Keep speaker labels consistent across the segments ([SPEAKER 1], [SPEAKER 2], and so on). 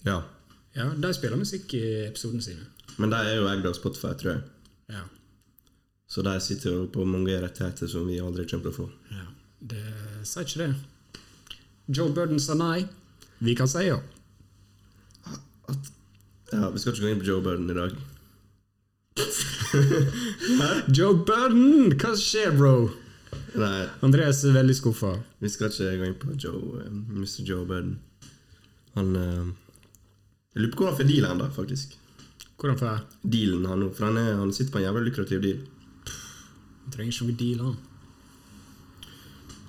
[SPEAKER 1] Ja.
[SPEAKER 2] Ja, De spiller musikk i episodene sine.
[SPEAKER 1] Men de er jo eid av Spotify, tror jeg.
[SPEAKER 2] Ja.
[SPEAKER 1] Så de sitter jo på mange rettigheter som vi aldri kommer til å få.
[SPEAKER 2] ja. Det sier ikke det. Joe Burden sa nei. Vi kan si ja.
[SPEAKER 1] Ja, Vi skal ikke gå inn på Joe Burden i dag.
[SPEAKER 2] Joe Burden! Hva skjer, bro?
[SPEAKER 1] Nei,
[SPEAKER 2] Andreas er veldig skuffa.
[SPEAKER 1] vi skal ikke gå inn på Joe, eh, Mr. Joe Burden. Han eh, Jeg lurer på hvor han får dealen, da, faktisk.
[SPEAKER 2] Hvordan får jeg?
[SPEAKER 1] Dealen han nå, for han, er, han sitter på en jævlig lukrativ deal.
[SPEAKER 2] Han trenger ikke noe deal, han.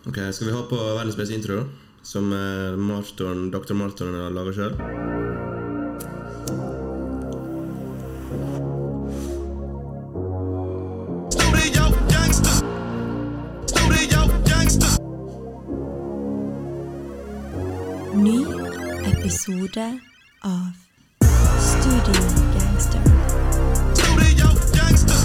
[SPEAKER 1] Ok, Skal vi ha på verdens beste intro, da? som eh, Marton, Dr. Marton har laga sjøl?
[SPEAKER 3] Studio gangster. Studio gangster.
[SPEAKER 4] Ny episode av Studio Gangster.
[SPEAKER 3] Studio gangster.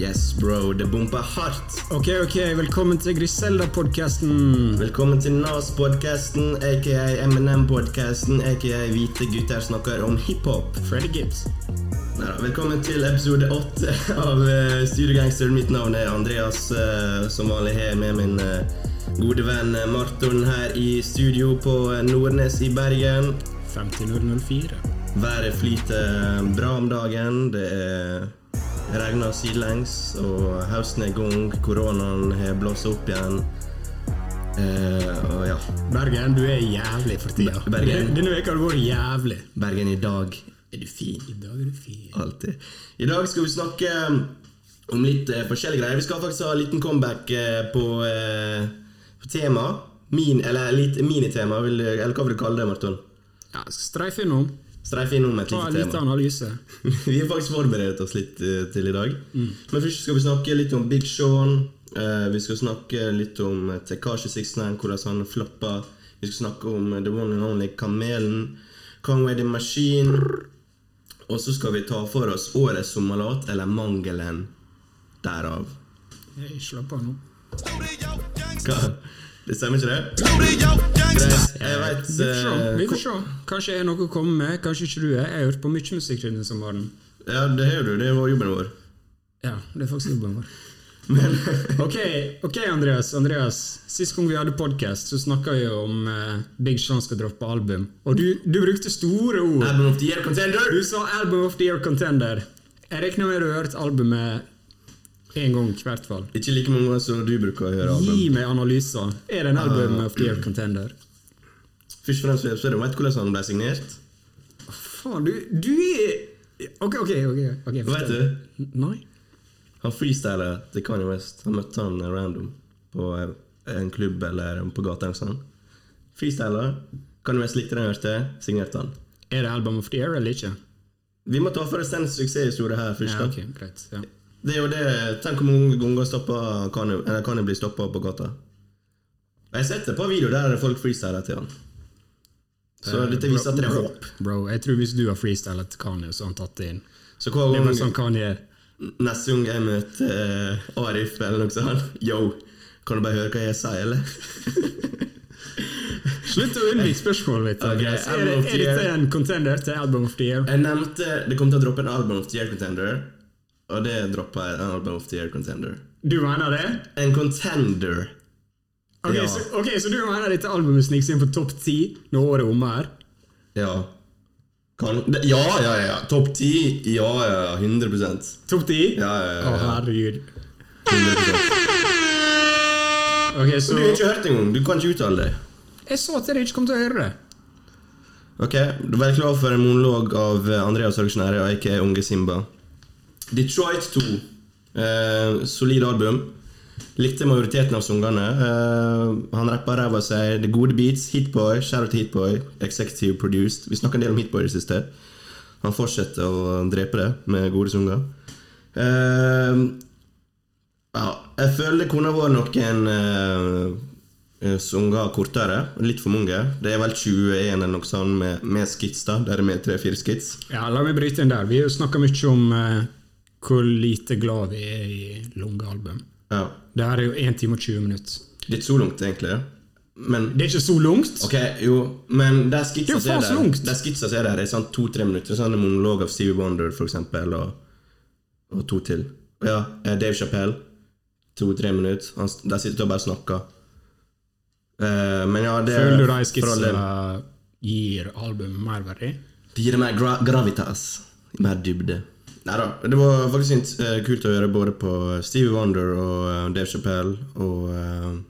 [SPEAKER 1] Yes, bro, det bomper hardt.
[SPEAKER 2] Ok, ok, velkommen til Griselda-podkasten.
[SPEAKER 1] Velkommen til Nas-podkasten, aka Eminem-podkasten, aka Hvite gutter snakker om hiphop.
[SPEAKER 2] Freddy Gibbs.
[SPEAKER 1] Neida, Velkommen til episode åtte av eh, Studio Gangster. Mitt navn er Andreas, eh, som vanlig her med min eh, gode venn eh, Marton her i studio på eh, Nordnes i Bergen.
[SPEAKER 2] 50004.
[SPEAKER 1] Været flyter eh, bra om dagen. Det er regner sidelengs, og høsten er i gang. Koronaen har blåst opp igjen. Eh, og ja,
[SPEAKER 2] Bergen, du er jævlig for tida.
[SPEAKER 1] Ber- Bergen.
[SPEAKER 2] Denne- Denne uka har det vært jævlig.
[SPEAKER 1] Bergen i dag er du fin.
[SPEAKER 2] I dag er du fin.
[SPEAKER 1] Alltid. I dag skal vi snakke om litt eh, forskjellige greier. Vi skal faktisk ha en liten comeback eh, på, eh, på tema. Min, eller litt minitema, vil du- eller hva vil du kalle det, Marton?
[SPEAKER 2] Ja, skal streife innom.
[SPEAKER 1] Streif innom et
[SPEAKER 2] Ta en
[SPEAKER 1] lite
[SPEAKER 2] liten
[SPEAKER 1] tema.
[SPEAKER 2] analyse.
[SPEAKER 1] vi har faktisk forberedt oss litt eh, til i dag. Men først skal vi snakke litt om Big Sean. Eh, vi skal snakke litt om eh, Tekashi 69, hvordan han floppa. Vi skal snakke om eh, The One and Only Kamelen. Conway the Machine. Og så skal vi ta for oss årets sommerlåt, eller mangelen derav.
[SPEAKER 2] Hey, Slapp av nå.
[SPEAKER 3] Studio gangster.
[SPEAKER 1] Hva? Det stemmer ikke det?
[SPEAKER 3] Studio gangster.
[SPEAKER 1] Greit, jeg vet
[SPEAKER 2] Vi får se.
[SPEAKER 1] eh,
[SPEAKER 2] Vi får se. Kanskje jeg har noe å komme med, kanskje ikke du er. Jeg har hørt på mye musikk denne sommeren.
[SPEAKER 1] Ja, det har du. Det var jobben vår.
[SPEAKER 2] Ja, det er faktisk jobben vår. ok, ok, Andreas. Andreas. Sist gang vi hadde podkast, så snakka vi om eh, Big Sean skal droppe album. Og du, du brukte store ord.
[SPEAKER 1] Album of the year contender!
[SPEAKER 2] Du sa 'Album of the Year Contender'. Jeg regner med du har hørt albumet én gang i hvert fall.
[SPEAKER 1] Ikke like mange ganger som du bruker å høre album. Ah.
[SPEAKER 2] Gi meg analyser. Er det en album of the year contender?
[SPEAKER 1] Først og fremst så er det Vet hvordan han ble signert?
[SPEAKER 2] Faen, du, du er Ok, ok. ok, ok
[SPEAKER 1] Vet
[SPEAKER 2] fortell.
[SPEAKER 1] du?
[SPEAKER 2] Nei.
[SPEAKER 1] Han freestyler til Kanye West. Han møtte han random på eh, en klubb eller på gata. eller noe sånt. Freestyler. Kanye West likte den han hørte, signerte han.
[SPEAKER 2] Er det album of the year eller ikke?
[SPEAKER 1] Vi må ta for oss den suksesshistorien her først.
[SPEAKER 2] Ja,
[SPEAKER 1] da.
[SPEAKER 2] ok, greit. Ja.
[SPEAKER 1] Det er jo det Tenk hvor mange ganger stopper Kanye, eller Kanye blir stoppa på gata. Og Jeg har sett et par videoer der folk freestyler til han. Så
[SPEAKER 2] Eh,
[SPEAKER 1] dette
[SPEAKER 2] bro-
[SPEAKER 1] viser at det er
[SPEAKER 2] bro-
[SPEAKER 1] håp.
[SPEAKER 2] Bro, jeg tror hvis du har freestylet Kanye, så har han tatt det inn.
[SPEAKER 1] Så hver
[SPEAKER 2] Det er
[SPEAKER 1] gang
[SPEAKER 2] bare sånn Kanye
[SPEAKER 1] Neste gang jeg møter eh, Arif eller noe sånt Yo, kan du bare høre hva jeg sier, eller?
[SPEAKER 2] Slutt å unnvike spørsmålet mitt.
[SPEAKER 1] Ok,
[SPEAKER 2] Andreas. er,
[SPEAKER 1] album of
[SPEAKER 2] det-
[SPEAKER 1] the
[SPEAKER 2] er dette
[SPEAKER 1] year.
[SPEAKER 2] en contender til album of the year?
[SPEAKER 1] Jeg nevnte det kom til å droppe en album of the year contender, og det droppa jeg. En album of the year contender.
[SPEAKER 2] Du mener det?
[SPEAKER 1] En contender.
[SPEAKER 2] Ok,
[SPEAKER 1] Ja.
[SPEAKER 2] så, ok, så du mener dette albumet sniks inn på topp 10 når året er omme her?
[SPEAKER 1] Ja. Kan, det, ja, ja, ja. Topp ti? Ja, ja, ja. 100 Ja,
[SPEAKER 2] Topp 10?
[SPEAKER 1] ja,
[SPEAKER 2] Å,
[SPEAKER 1] ja. ja.
[SPEAKER 2] herregud.
[SPEAKER 1] 100%.
[SPEAKER 2] Ok, så
[SPEAKER 1] Du har ikke hørt det engang. Du kan ikke uttale det.
[SPEAKER 2] Jeg sa til deg ikke kom til å høre det.
[SPEAKER 1] Ok, du er klar for en monolog av eh, Andreas Høgsnære og aka Unge Simba. Detroit 2. Eh, solid album. Likte majoriteten av sangene. Eh, han rappa ræva seg. Det er gode beats. Hitboy. Shout out til Hitboy. Executive produced. Vi snakka en del om Hitboy i det siste. Han fortsetter å drepe det med gode sanger. Eh, ja, jeg føler det kunne vært noen eh, eh, sanger kortere. Litt for mange. Det er vel 21 eller noe sånt med, med skits, da. Der er med tre-fire skits.
[SPEAKER 2] Ja, la meg bryte inn der. Vi har jo snakka mye om eh, hvor lite glad vi er i lange album.
[SPEAKER 1] Ja.
[SPEAKER 2] Det her er jo 1 time og 20 minutter.
[SPEAKER 1] Litt så langt, egentlig. Men
[SPEAKER 2] Det er ikke så langt.
[SPEAKER 1] Ok, jo, men de
[SPEAKER 2] Det er
[SPEAKER 1] skitsa
[SPEAKER 2] jo faen så
[SPEAKER 1] som er
[SPEAKER 2] langt.
[SPEAKER 1] der, de skitsa som er der, er sånn to-tre minutter. Sånn en monolog av Stevie Wonder, for eksempel, og, og to til. Ja, eh, Dave Chappelle. To-tre minutter. Han, de sitter og bare snakker. Eh, men ja, det
[SPEAKER 2] Føler du de
[SPEAKER 1] for all del.
[SPEAKER 2] skitsene gir albumet merverdi?
[SPEAKER 1] Det gir mer gra gravitas. Mer dybde. Nei da. Det var faktisk int- eh, kult å høre både på eh, Stevie Wonder og eh, Dave Chappelle og eh,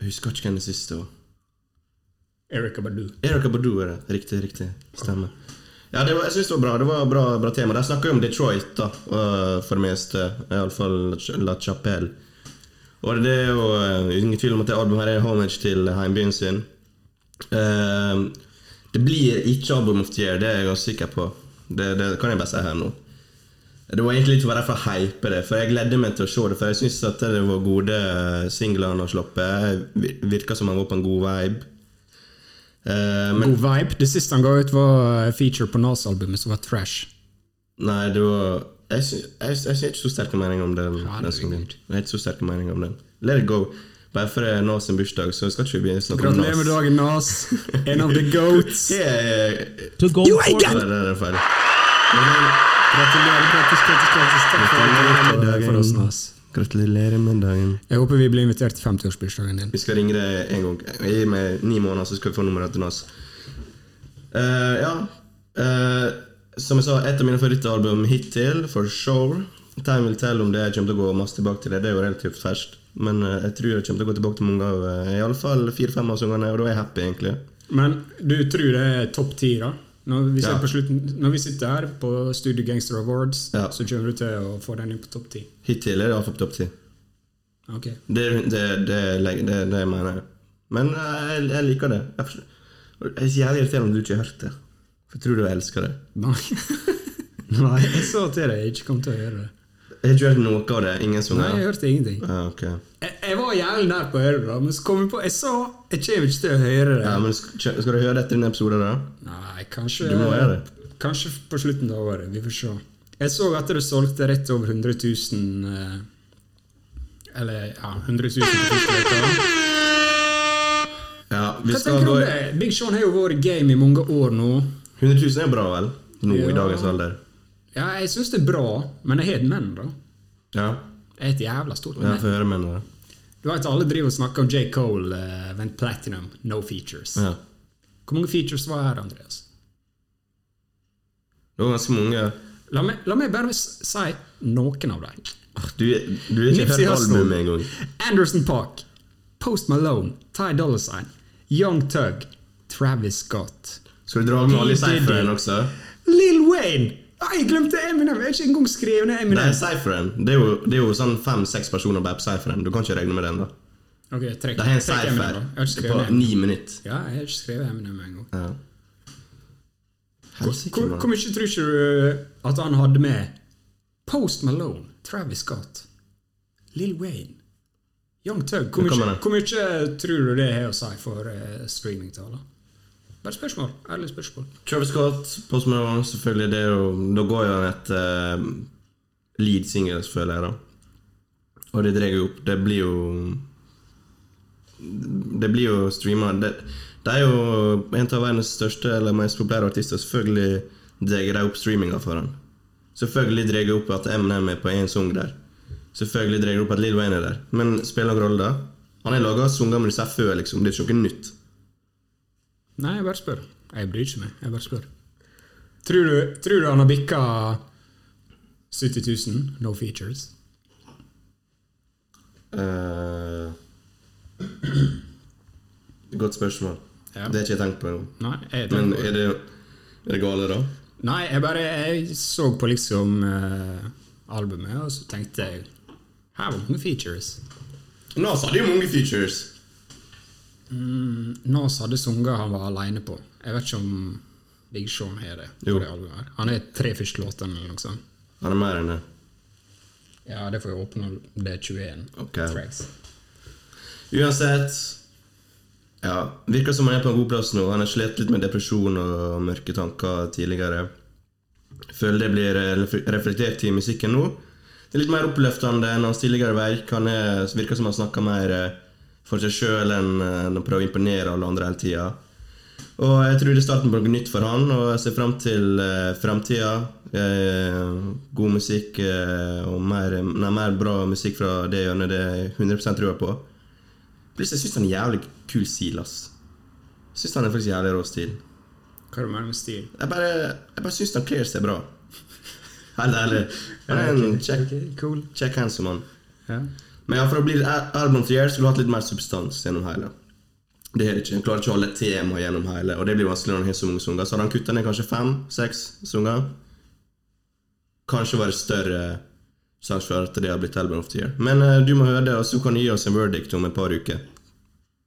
[SPEAKER 1] Jeg husker ikke hvem det siste var.
[SPEAKER 2] Erika Badu.
[SPEAKER 1] Erika Badu er det. Riktig, riktig. Stemmer. Ja, det var, jeg synes det var bra. Det var et bra, bra tema. De snakker jo om Detroit, da, øh, for det meste. Iallfall La Chapelle. Og det er jo øh, ingen tvil om at det albumet her er homage til heimbyen sin. Eh, det blir ikke Album of the Year, det er jeg ganske sikker på. Det, det kan jeg bare si her nå. Det var egentlig litt for å være for å hype det, for jeg gledde meg til å se det. For jeg syns at det var gode eh, singler han har sluppet. Vi- Virka som han var på en god vibe. Eh, men
[SPEAKER 2] God vibe. Det siste han ga ut, var eh, feature på Nas-albumet, som var trash.
[SPEAKER 1] Nei, det var Jeg sy- jeg- jeg har ikke så sterke meninger om den.
[SPEAKER 2] Herregud.
[SPEAKER 1] den sangen. Jeg har ikke så sterke meninger om den. Let it go. Bare for det er Nas sin bursdag, så skal ikke vi begynne å snakke om Nas.
[SPEAKER 2] Gratulerer med dagen, Nas. En av the goats.
[SPEAKER 1] Det er-
[SPEAKER 5] To go
[SPEAKER 2] You
[SPEAKER 5] for
[SPEAKER 2] ain't got-
[SPEAKER 1] Nei, det er feil.
[SPEAKER 2] Gratulerer, gratis, gratis, gratis. Takk for at du er for oss, Nas.
[SPEAKER 1] Gratulerer med dagen.
[SPEAKER 2] Jeg håper vi blir invitert til 50-årsbursdagen din.
[SPEAKER 1] Vi skal ringe deg en gang. Gi meg ni måneder, så skal vi få nummeret til Nas. Eh, ja. Eh, som jeg sa, et av mine favorittalbum hittil, for sure. Time will tell om det jeg kommer til å gå masse tilbake til. Det Det er jo relativt ferskt. Men eh, jeg tror jeg kommer til å gå tilbake til mange av eh, i alle fall fire-fem av sangene, og da er jeg happy, egentlig.
[SPEAKER 2] Men du tror det er topp ti, da? Når vi, sitter
[SPEAKER 1] Ja.
[SPEAKER 2] på slutten, når vi sitter her på Studio Gangster Awards,
[SPEAKER 1] Ja.
[SPEAKER 2] så kommer du til å få den inn på topp ti.
[SPEAKER 1] Hittil er det iallfall på topp ti.
[SPEAKER 2] Ok.
[SPEAKER 1] Det, det, det, legger- det, det mener jeg. Men eh, jeg, jeg liker det. Jeg, forstår- jeg er så jævlig irriterende om du ikke har hørt det. For jeg tror du elsker det.
[SPEAKER 2] Nei. Nei, jeg sa til deg jeg ikke kom til å gjøre det.
[SPEAKER 1] Jeg har ikke hørt noe av det. Ingen
[SPEAKER 2] Nei,
[SPEAKER 1] sanger?
[SPEAKER 2] jeg hørte ingenting.
[SPEAKER 1] Ja, ok.
[SPEAKER 2] Jeg, jeg var jævlig nær på å høre det, da, men så kom jeg på Jeg sa jeg kommer ikke til å høre det.
[SPEAKER 1] Ja, men sk- kjø- Skal du høre det etter denne episoden, da?
[SPEAKER 2] Nei, kanskje
[SPEAKER 1] Du må gjøre det.
[SPEAKER 2] Kanskje på slutten av året. Vi får se. Jeg så at det solgte rett over 100 000 eh, Eller ja, 100 000 på første uka.
[SPEAKER 1] Ja, vi
[SPEAKER 2] Hva
[SPEAKER 1] skal
[SPEAKER 2] tenker du
[SPEAKER 1] gå
[SPEAKER 2] om det? Big Sean har jo vært i game i mange år nå.
[SPEAKER 1] 100 000 er bra, vel? Nå
[SPEAKER 2] Ja.
[SPEAKER 1] i dagens alder.
[SPEAKER 2] Ja, jeg syns det er bra, men jeg har et men, da.
[SPEAKER 1] Ja,
[SPEAKER 2] Jeg er et jævla stort
[SPEAKER 1] jeg
[SPEAKER 2] men.
[SPEAKER 1] får høre med deg.
[SPEAKER 2] Du vet alle driver og snakker om J. Cole, eh, vent platinum, no features.
[SPEAKER 1] Ja.
[SPEAKER 2] Hvor mange features var her, Andreas?
[SPEAKER 1] Det var ganske mange.
[SPEAKER 2] La meg, la meg bare s- si noen av dem.
[SPEAKER 1] Du, du har ikke
[SPEAKER 2] Nipsey
[SPEAKER 1] hørt
[SPEAKER 2] Hussle.
[SPEAKER 1] albumet engang.
[SPEAKER 2] Anderson Park, Post Malone, Ty Dolla Sign, Young Tug, Travis Scott,
[SPEAKER 1] Skal du dra med alle
[SPEAKER 2] Diddy.
[SPEAKER 1] seiferen også?
[SPEAKER 2] Lil Wayne! Ah, Jeg glemte Eminem! Jeg har ikke engang skrevet ned
[SPEAKER 1] Nei,
[SPEAKER 2] Eminem.
[SPEAKER 1] seiferen. Det er jo, det er jo sånn fem-seks personer bare på seiferen. Du kan ikke regne med den, da.
[SPEAKER 2] Ok, trekk,
[SPEAKER 1] Det er en
[SPEAKER 2] trekk Eminem.
[SPEAKER 1] seifer
[SPEAKER 2] da. Jeg har
[SPEAKER 1] på
[SPEAKER 2] ikke skrevet ned.
[SPEAKER 1] ni minutter.
[SPEAKER 2] Ja, jeg har ikke skrevet Eminem engang.
[SPEAKER 1] Ja. Helsike,
[SPEAKER 2] Hvor hvor
[SPEAKER 1] mann.
[SPEAKER 2] mye tror ikke du eh, at han hadde med Post Malone, Travis Scott, Lil Wayne, Young Tug? Hvor
[SPEAKER 1] Det kan
[SPEAKER 2] mye
[SPEAKER 1] man.
[SPEAKER 2] hvor mye tror du det har å si for eh, streamingtaler? Bare spørsmål. Ærlig spørsmål.
[SPEAKER 1] Travis Scott, Post Malone, selvfølgelig. Det er jo, da går jo han etter uh, lead singles, føler jeg, da. Og det drar jo opp. Det blir jo Det blir jo streama. Det, det er jo en av verdens største eller mest populære artister. Selvfølgelig drar de opp streaminga for han. Selvfølgelig drar jeg opp at Eminem er på én sang der. Selvfølgelig drar jeg opp at Lil Wayne er der. Men spiller noen rolle, da? Han har laga sanger med disse før, liksom. Det er ikke noe nytt.
[SPEAKER 2] Nei, jeg bare spør. Jeg bryr ikke meg. Jeg bare spør. Tror du, tror du han har bikka 70 000? No features?
[SPEAKER 1] Eh, Godt spørsmål.
[SPEAKER 2] Ja.
[SPEAKER 1] Det har ikke jeg tenkt på engang.
[SPEAKER 2] Nei, jeg,
[SPEAKER 1] Men
[SPEAKER 2] tenker-
[SPEAKER 1] er det, er det gale, da?
[SPEAKER 2] Nei, jeg bare jeg så på liksom eh, albumet, og så tenkte jeg Her var mange features.
[SPEAKER 1] Nas hadde jo mange features.
[SPEAKER 2] Nas hadde sanger han var aleine på. Jeg vet ikke om Big Sean har det. på
[SPEAKER 1] Jo.
[SPEAKER 2] det albumet her. Han er tre første låtene eller noe sånt.
[SPEAKER 1] Han er mer enn det.
[SPEAKER 2] Ja, det får jeg åpne. Det er 21
[SPEAKER 1] Ok.
[SPEAKER 2] tracks.
[SPEAKER 1] Uansett Ja, Virker som han er på en god plass nå. Han har slitt litt med depresjon og mørke tanker tidligere. Føler det blir eh, reflektert i musikken nå. Det er litt mer oppløftende enn hans tidligere verk. Han er, virker som han snakker mer eh, for seg sjøl enn eh, enn å prøve å imponere alle andre hele tida. Og jeg tror det er starten på noe nytt for han, og jeg ser fram til uh, framtida. Eh, god musikk eh, og mer, nei, mer bra musikk fra det hjørnet, det er jeg 100 trua på. Pluss jeg syns han er jævlig kul stil, ass. Jeg syns han er faktisk jævlig rå stil.
[SPEAKER 2] Hva er det mer med stil?
[SPEAKER 1] Jeg bare, jeg bare syns han kler seg bra. Helt ærlig. Han er en kjekk,
[SPEAKER 2] Ok, Cool.
[SPEAKER 1] kjekk handsome mann.
[SPEAKER 2] Ja.
[SPEAKER 1] Men ja, for å bli litt al- album of the year skulle du hatt litt mer substans gjennom hele. Det er det ikke, En klarer ikke å holde et tema gjennom hele, og det blir vanskelig når en har så mange sanger. Så hadde han kutta ned kanskje fem-seks sanger. Kanskje vært større sjanse for at det hadde blitt album of the year. Men eh, du må høre det, og så kan du gi oss en verdict om et par uker.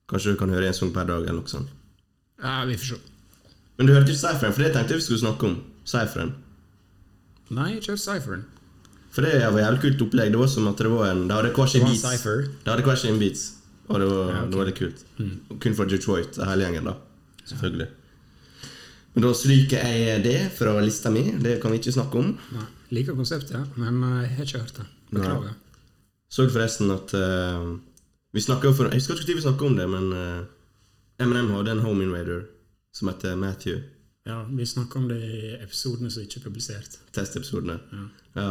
[SPEAKER 1] Kanskje du kan høre én sang per dag, eller noe sånt.
[SPEAKER 2] ja, vi får se.
[SPEAKER 1] Men du hørte ikke Cypheren, for det tenkte jeg vi skulle snakke om. Cypheren.
[SPEAKER 2] Nei, kjøp Cypheren.
[SPEAKER 1] For det var jævlig kult opplegg. Det var som at det var en Det hadde hver
[SPEAKER 2] Det
[SPEAKER 1] sin
[SPEAKER 2] var en
[SPEAKER 1] beats.
[SPEAKER 2] cypher.
[SPEAKER 1] Det hadde hver sin beats, og det var, det var litt kult. Kun for Detroit, hele gjengen, da. Selvfølgelig. Men da stryker jeg det fra lista mi. Det kan vi ikke snakke om.
[SPEAKER 2] Nei, Liker konseptet, ja, men eh, jeg har ikke hørt det. Beklager.
[SPEAKER 1] Så du forresten at eh, Vi snakket jo for Jeg husker ikke når vi snakket om det, men eh, M&M hadde en home invader som heter Matthew.
[SPEAKER 2] Ja, Vi snakka om det i episodene som ikke er publisert.
[SPEAKER 1] Testepisodene. Ja.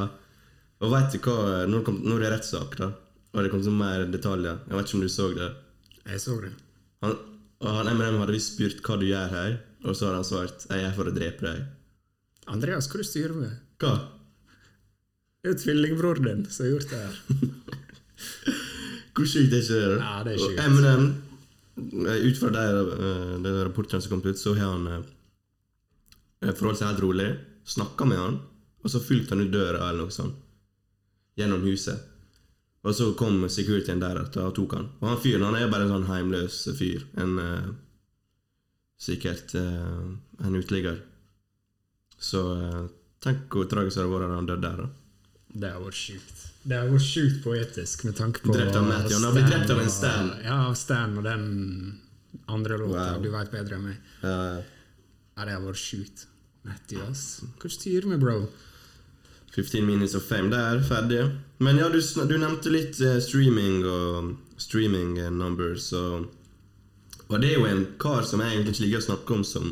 [SPEAKER 1] Og veit du hva Nå kom- nå er det rettssak, da. Og det kom til mer detaljer. Jeg vet ikke om du så det.
[SPEAKER 2] Jeg så det.
[SPEAKER 1] Han, og han M&M hadde visst spurt hva du gjør her, og så hadde han svart jeg er her for å drepe deg.
[SPEAKER 2] Andreas, hva du styrer med?
[SPEAKER 1] Hva?
[SPEAKER 2] Det er jo tvillingbroren din som har gjort det her.
[SPEAKER 1] Hvor sjukt er ikke det? da?
[SPEAKER 2] Ja, det er sjukt.
[SPEAKER 1] Og M&M, eh, ut fra de, eh, de rapportene som kom ut, så har han eh, forholdt seg helt rolig, snakka med han, og så fulgte han ut døra eller noe sånt, gjennom huset. Og så kom securityen deretter og tok han. Og han fyren han er bare en sånn heimløs fyr. En eh, Sikkert eh, en uteligger. Så eh, tenk hvor tragisk det hadde vært om han døde der, da.
[SPEAKER 2] Det har vært sjukt. Det har vært sjukt poetisk med tanke på
[SPEAKER 1] Drept av Matthew. Han har blitt
[SPEAKER 2] Stan
[SPEAKER 1] drept av en
[SPEAKER 2] og-
[SPEAKER 1] Stan.
[SPEAKER 2] Ja, av Stan og den andre låta.
[SPEAKER 1] Wow.
[SPEAKER 2] Du veit bedre enn meg.
[SPEAKER 1] Eh,
[SPEAKER 2] Ja, det har vært sjukt. Matthew, ass. Hva du styrer med, bro?
[SPEAKER 1] 15 minutes of fame der, ferdig. Men ja, du, sn- du nevnte litt eh, streaming og streaming eh, numbers og Og det er jo en kar som jeg egentlig ikke liker å snakke om, som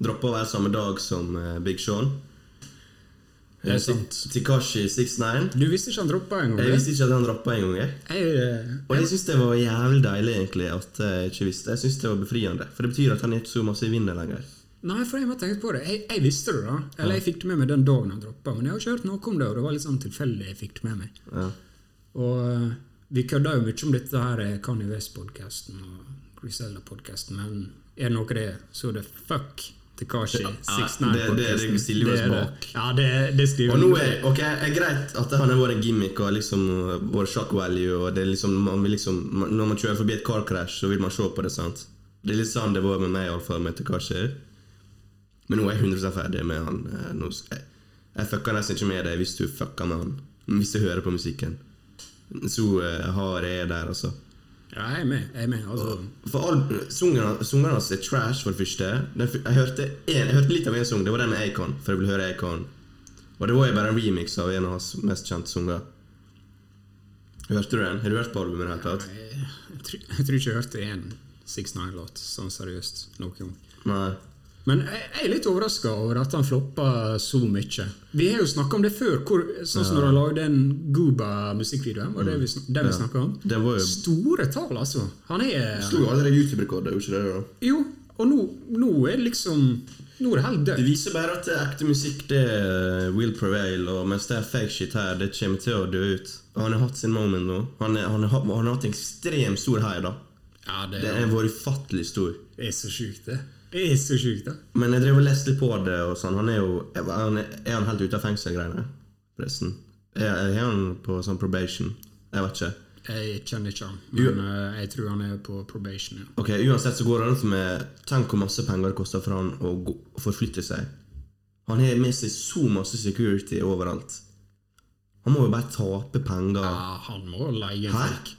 [SPEAKER 1] droppa hver samme dag som eh, Big Sean. Eh,
[SPEAKER 2] Det er sant.
[SPEAKER 1] Tikashi 69.
[SPEAKER 2] Du visste ikke han droppa engang?
[SPEAKER 1] Jeg
[SPEAKER 2] det?
[SPEAKER 1] visste ikke at han droppa en gang. jeg.
[SPEAKER 2] Jeg, eh,
[SPEAKER 1] Og jeg syns det var jævlig deilig egentlig at jeg ikke eh, visste. Jeg synes det var befriende. For det betyr at han er ikke så masse i vinden lenger.
[SPEAKER 2] Nei, for jeg har tenkt på det. Jeg, jeg visste det, da. Eller jeg fikk det med meg den dagen han droppa. Men jeg har ikke hørt noe om det, og det var litt sånn tilfeldig jeg fikk det med meg.
[SPEAKER 1] Ja.
[SPEAKER 2] Og eh, vi kødda jo mye om dette her eh, Kanye West-podkasten og Griselda-podkasten, men er det noe det, er, så er det fuck Tekashi
[SPEAKER 1] det- det- det
[SPEAKER 2] 69-podkasten.
[SPEAKER 1] stiller vi oss bak.
[SPEAKER 2] Ja, det, det skriver
[SPEAKER 1] Og nå
[SPEAKER 2] vi.
[SPEAKER 1] er ok, det er greit at han har vært en gimmick og liksom uh, vår shock value og det er liksom, man vil liksom, man- Når man kjører forbi et car crash, så vil man se på det, sant? Det er litt sånn det var med meg, iallfall, med Tekashi. Men nå er jeg 100 ferdig med han. eh, Nå, sk- jeg, jeg fucka nesten ikke med deg hvis du fucka med han. Hvis du hører på musikken. Så eh, hard er jeg der, altså.
[SPEAKER 2] Ja, jeg er med. Jeg er med. Altså,
[SPEAKER 1] For all, sungene, sungene hans er trash, for det første. Den, fyr- jeg, hørte en, jeg hørte litt av en sang, det var den med Acon. For jeg ville høre Acon. Og det var jo bare en remix av en av hans mest kjente sanger. Hørte du den? Har du hørt på albumet i det hele tatt?
[SPEAKER 2] jeg, jeg, tror, jeg tror ikke jeg hørte én 69-låt sånn seriøst noen gang.
[SPEAKER 1] Nei.
[SPEAKER 2] Men jeg, jeg er litt overraska over at han floppa så mye. Vi har jo snakka om det før, hvor, sånn som når han lagde den Gooba-musikkvideoen. var det vi, sn- den vi snakket om.
[SPEAKER 1] Den Mm. var jo
[SPEAKER 2] Store tall, altså. Han er
[SPEAKER 1] Slo jo allerede YouTube-rekorder, gjorde ikke det? da?
[SPEAKER 2] Jo, og nå, nå er det liksom Nå er det helt
[SPEAKER 1] Det
[SPEAKER 2] dødt.
[SPEAKER 1] viser bare at ekte musikk det eh, will prevail, og mens det er fake shit her, det kommer til å dø ut. Og han har hatt sin moment nå. Han, er, han, har, han har hatt en ekstremt stor hei, da.
[SPEAKER 2] Ja, det,
[SPEAKER 1] Den har vært ufattelig stor.
[SPEAKER 2] det er så sjukt, det. Det er så sjukt, da.
[SPEAKER 1] Men jeg drev og leste litt på det, og sånn. Han er jo han er, er han helt ute av fengsel-greiene? Forresten. Er, er han på sånn probation? Jeg vet ikke.
[SPEAKER 2] Jeg kjenner ikke han, men eh, jeg tror han er på probation. Ja.
[SPEAKER 1] Ok, Uansett så går det rundt med Tenk hvor masse penger det koster for han å gå, å forflytte seg. Han har med seg så masse security overalt. Han må jo bare tape penger.
[SPEAKER 2] Ja, han må leie en
[SPEAKER 1] Hæ?
[SPEAKER 2] folk.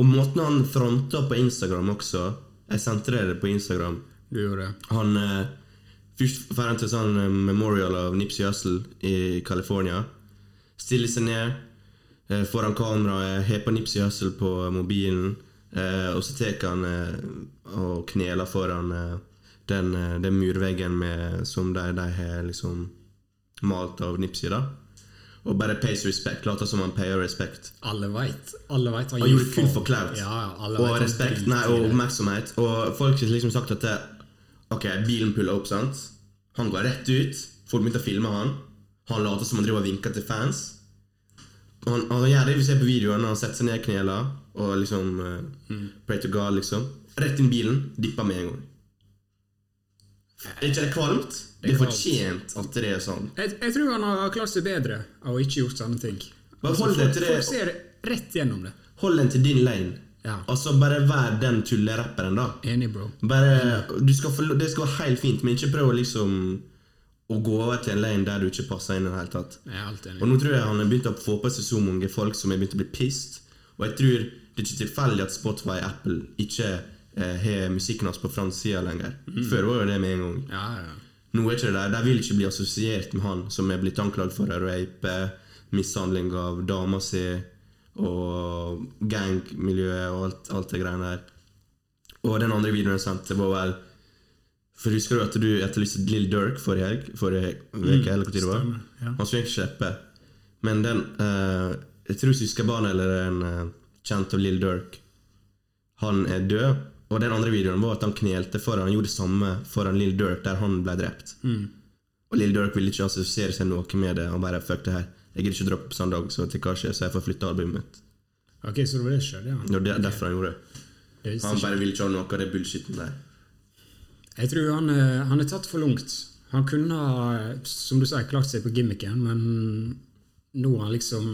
[SPEAKER 1] Og måten han fronta på Instagram også Jeg sendte deg det på Instagram.
[SPEAKER 2] Du gjorde det.
[SPEAKER 1] Han eh, Først drar han til sånn eh, memorial av Nipsey Hussle i California. Stiller seg ned eh, foran kameraet, har på Nipsey Hussle på mobilen. Eh, og så tar han eh, og kneler foran eh, den, eh, den murveggen med, som de, de har liksom malt av Nipsey. da Og bare pays respect. Later som han payer respect.
[SPEAKER 2] Alle veit. Alle vet hva
[SPEAKER 1] Han gjorde det
[SPEAKER 2] faen.
[SPEAKER 1] kun for clout.
[SPEAKER 2] Ja, ja, alle
[SPEAKER 1] og
[SPEAKER 2] vet han
[SPEAKER 1] respekt
[SPEAKER 2] driter
[SPEAKER 1] nei,
[SPEAKER 2] i
[SPEAKER 1] og
[SPEAKER 2] det.
[SPEAKER 1] oppmerksomhet. Og folk har liksom sagt at det, Ok, bilen puller opp, sant? Han går rett ut. Folk begynte å filme han. Han later som han driver og vinker til fans. Han, han gjør det vi ser på videoen. Han setter seg ned i knela og liksom eh,
[SPEAKER 2] Mm.
[SPEAKER 1] Pray to God, liksom. Rett inn i bilen. Dipper med en gang. Er ikke det kvalmt? Det
[SPEAKER 2] er
[SPEAKER 1] er
[SPEAKER 2] kvalmt.
[SPEAKER 1] fortjent at det er sånn.
[SPEAKER 2] Jeg, jeg tror han har klart seg bedre av å ikke gjort sånne ting. Altså,
[SPEAKER 1] Bare hold
[SPEAKER 2] folk,
[SPEAKER 1] deg til det.
[SPEAKER 2] folk ser rett gjennom det.
[SPEAKER 1] Hold den til din lane.
[SPEAKER 2] Ja.
[SPEAKER 1] Altså, bare vær den tullerapperen, da.
[SPEAKER 2] Enig, bro.
[SPEAKER 1] Bare, du skal få, det skal være helt fint, men ikke prøv å liksom å gå over til en lane der du ikke passer inn i det hele tatt.
[SPEAKER 2] Jeg er helt
[SPEAKER 1] Og
[SPEAKER 2] enig.
[SPEAKER 1] nå tror jeg han har begynt å få på seg så mange folk som har begynt å bli pissed. Og jeg tror det er ikke tilfeldig at Spotify og Apple ikke eh, har musikken hans på framsida lenger. Før var jo det med en gang.
[SPEAKER 2] Ja, ja.
[SPEAKER 1] Nå er ikke det der. De vil ikke bli assosiert med han som er blitt anklagd for å rape, mishandling av dama si og gangmiljøet og alt, alt det greiene der. Og den andre videoen jeg sendte, var vel For husker du at du etterlyste Lill Dirk forrige helg? Forrige uke, eller hva tid det var?
[SPEAKER 2] Mm, stemmer, ja.
[SPEAKER 1] Han skulle egentlig slippe, men den eh, Jeg tror Syskabarn eller en eh, kjent av Lill Dirk han er død. Og den andre videoen var at han knelte foran Han gjorde det samme foran Lill Durk, der han ble drept.
[SPEAKER 2] Mm.
[SPEAKER 1] Og Lill Durk ville ikke assosiere seg noe med det. Han bare 'fuck det her'. Jeg gidder ikke droppe på sånn dag, så til hva skjer, så jeg får flytte albumet mitt.
[SPEAKER 2] Ok, så det var det skjedde, ja.
[SPEAKER 1] Det var der- derfor han gjorde det.
[SPEAKER 2] Det visste
[SPEAKER 1] Han
[SPEAKER 2] ikke.
[SPEAKER 1] bare ville ikke ha noe av det bullshitten der.
[SPEAKER 2] Jeg tror han, eh, han er tatt for langt. Han kunne ha, som du sier, klart seg på gimmicken, men nå er han liksom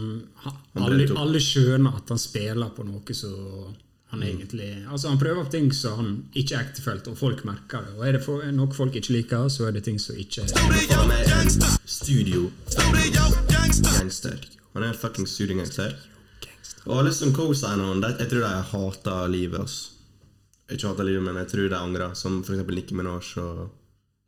[SPEAKER 2] han,
[SPEAKER 1] Han
[SPEAKER 2] alle,
[SPEAKER 1] brøt opp.
[SPEAKER 2] alle skjønner at han spiller på noe så han egentlig Altså, han prøver på ting som han ikke er ektefølt, og folk merker det. Og er det for, er noe folk ikke liker, så er det ting som ikke
[SPEAKER 1] Han er en studio
[SPEAKER 3] Studio gangster.
[SPEAKER 1] gangster. Han er en fucking studio gangster. Og alle som co-signer han, de- jeg tror de hater livet, ass. Ikke hater livet, men jeg tror de angrer, som for eksempel Nicki Minaj og,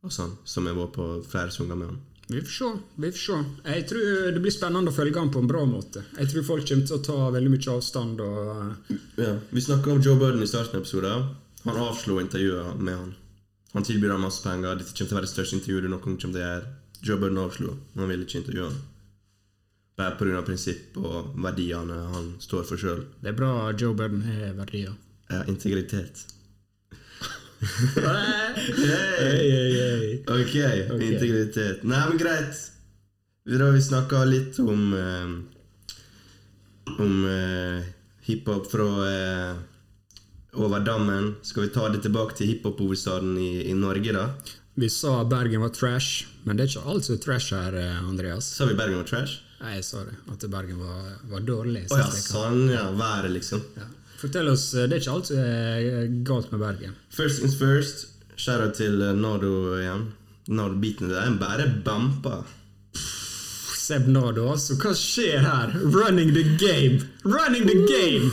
[SPEAKER 1] og sånn, som jeg var på flere sanger med han.
[SPEAKER 2] Vi får se. vi får se. Jeg tror det blir spennende å følge han på en bra måte. Jeg tror folk kommer til å ta veldig mye avstand og
[SPEAKER 1] Ja. Vi snakka om Joe Budden i starten av episoden. Han avslo intervjuet med han. Han tilbyr ham masse penger. Dette kommer til å være det største intervjuet du noen gang kommer til å gjøre. Joe Budden avslo. Han ville ikke intervjue han. Bare pga. prinsipp og verdiene han står for sjøl.
[SPEAKER 2] Det er bra Joe Budden har verdier.
[SPEAKER 1] Ja, integritet.
[SPEAKER 2] Hey, hey, hey.
[SPEAKER 1] Ok, integritet. Nei, men greit. Vi drar- vi snakka litt om eh, Om eh, hiphop fra eh, over dammen. Skal vi ta det tilbake til hiphop-hovedstaden i, i Norge, da?
[SPEAKER 2] Vi sa Bergen var trash, men det er ikke alt som er trash her, eh, Andreas.
[SPEAKER 1] Sa vi Bergen var trash?
[SPEAKER 2] Nei, jeg sa det. At Bergen var, var dårlig.
[SPEAKER 1] Å ja,
[SPEAKER 2] synes jeg.
[SPEAKER 1] sånn, ja. Været, liksom.
[SPEAKER 2] Ja. Fortell oss, eh, det er ikke alt som er eh, galt med Bergen.
[SPEAKER 1] First things first. Shout-out til eh, Nardo igjen. Nardo-biten der. Den bare bampa.
[SPEAKER 2] Seb Nardo, altså. Hva skjer her? Running the game! Running the game!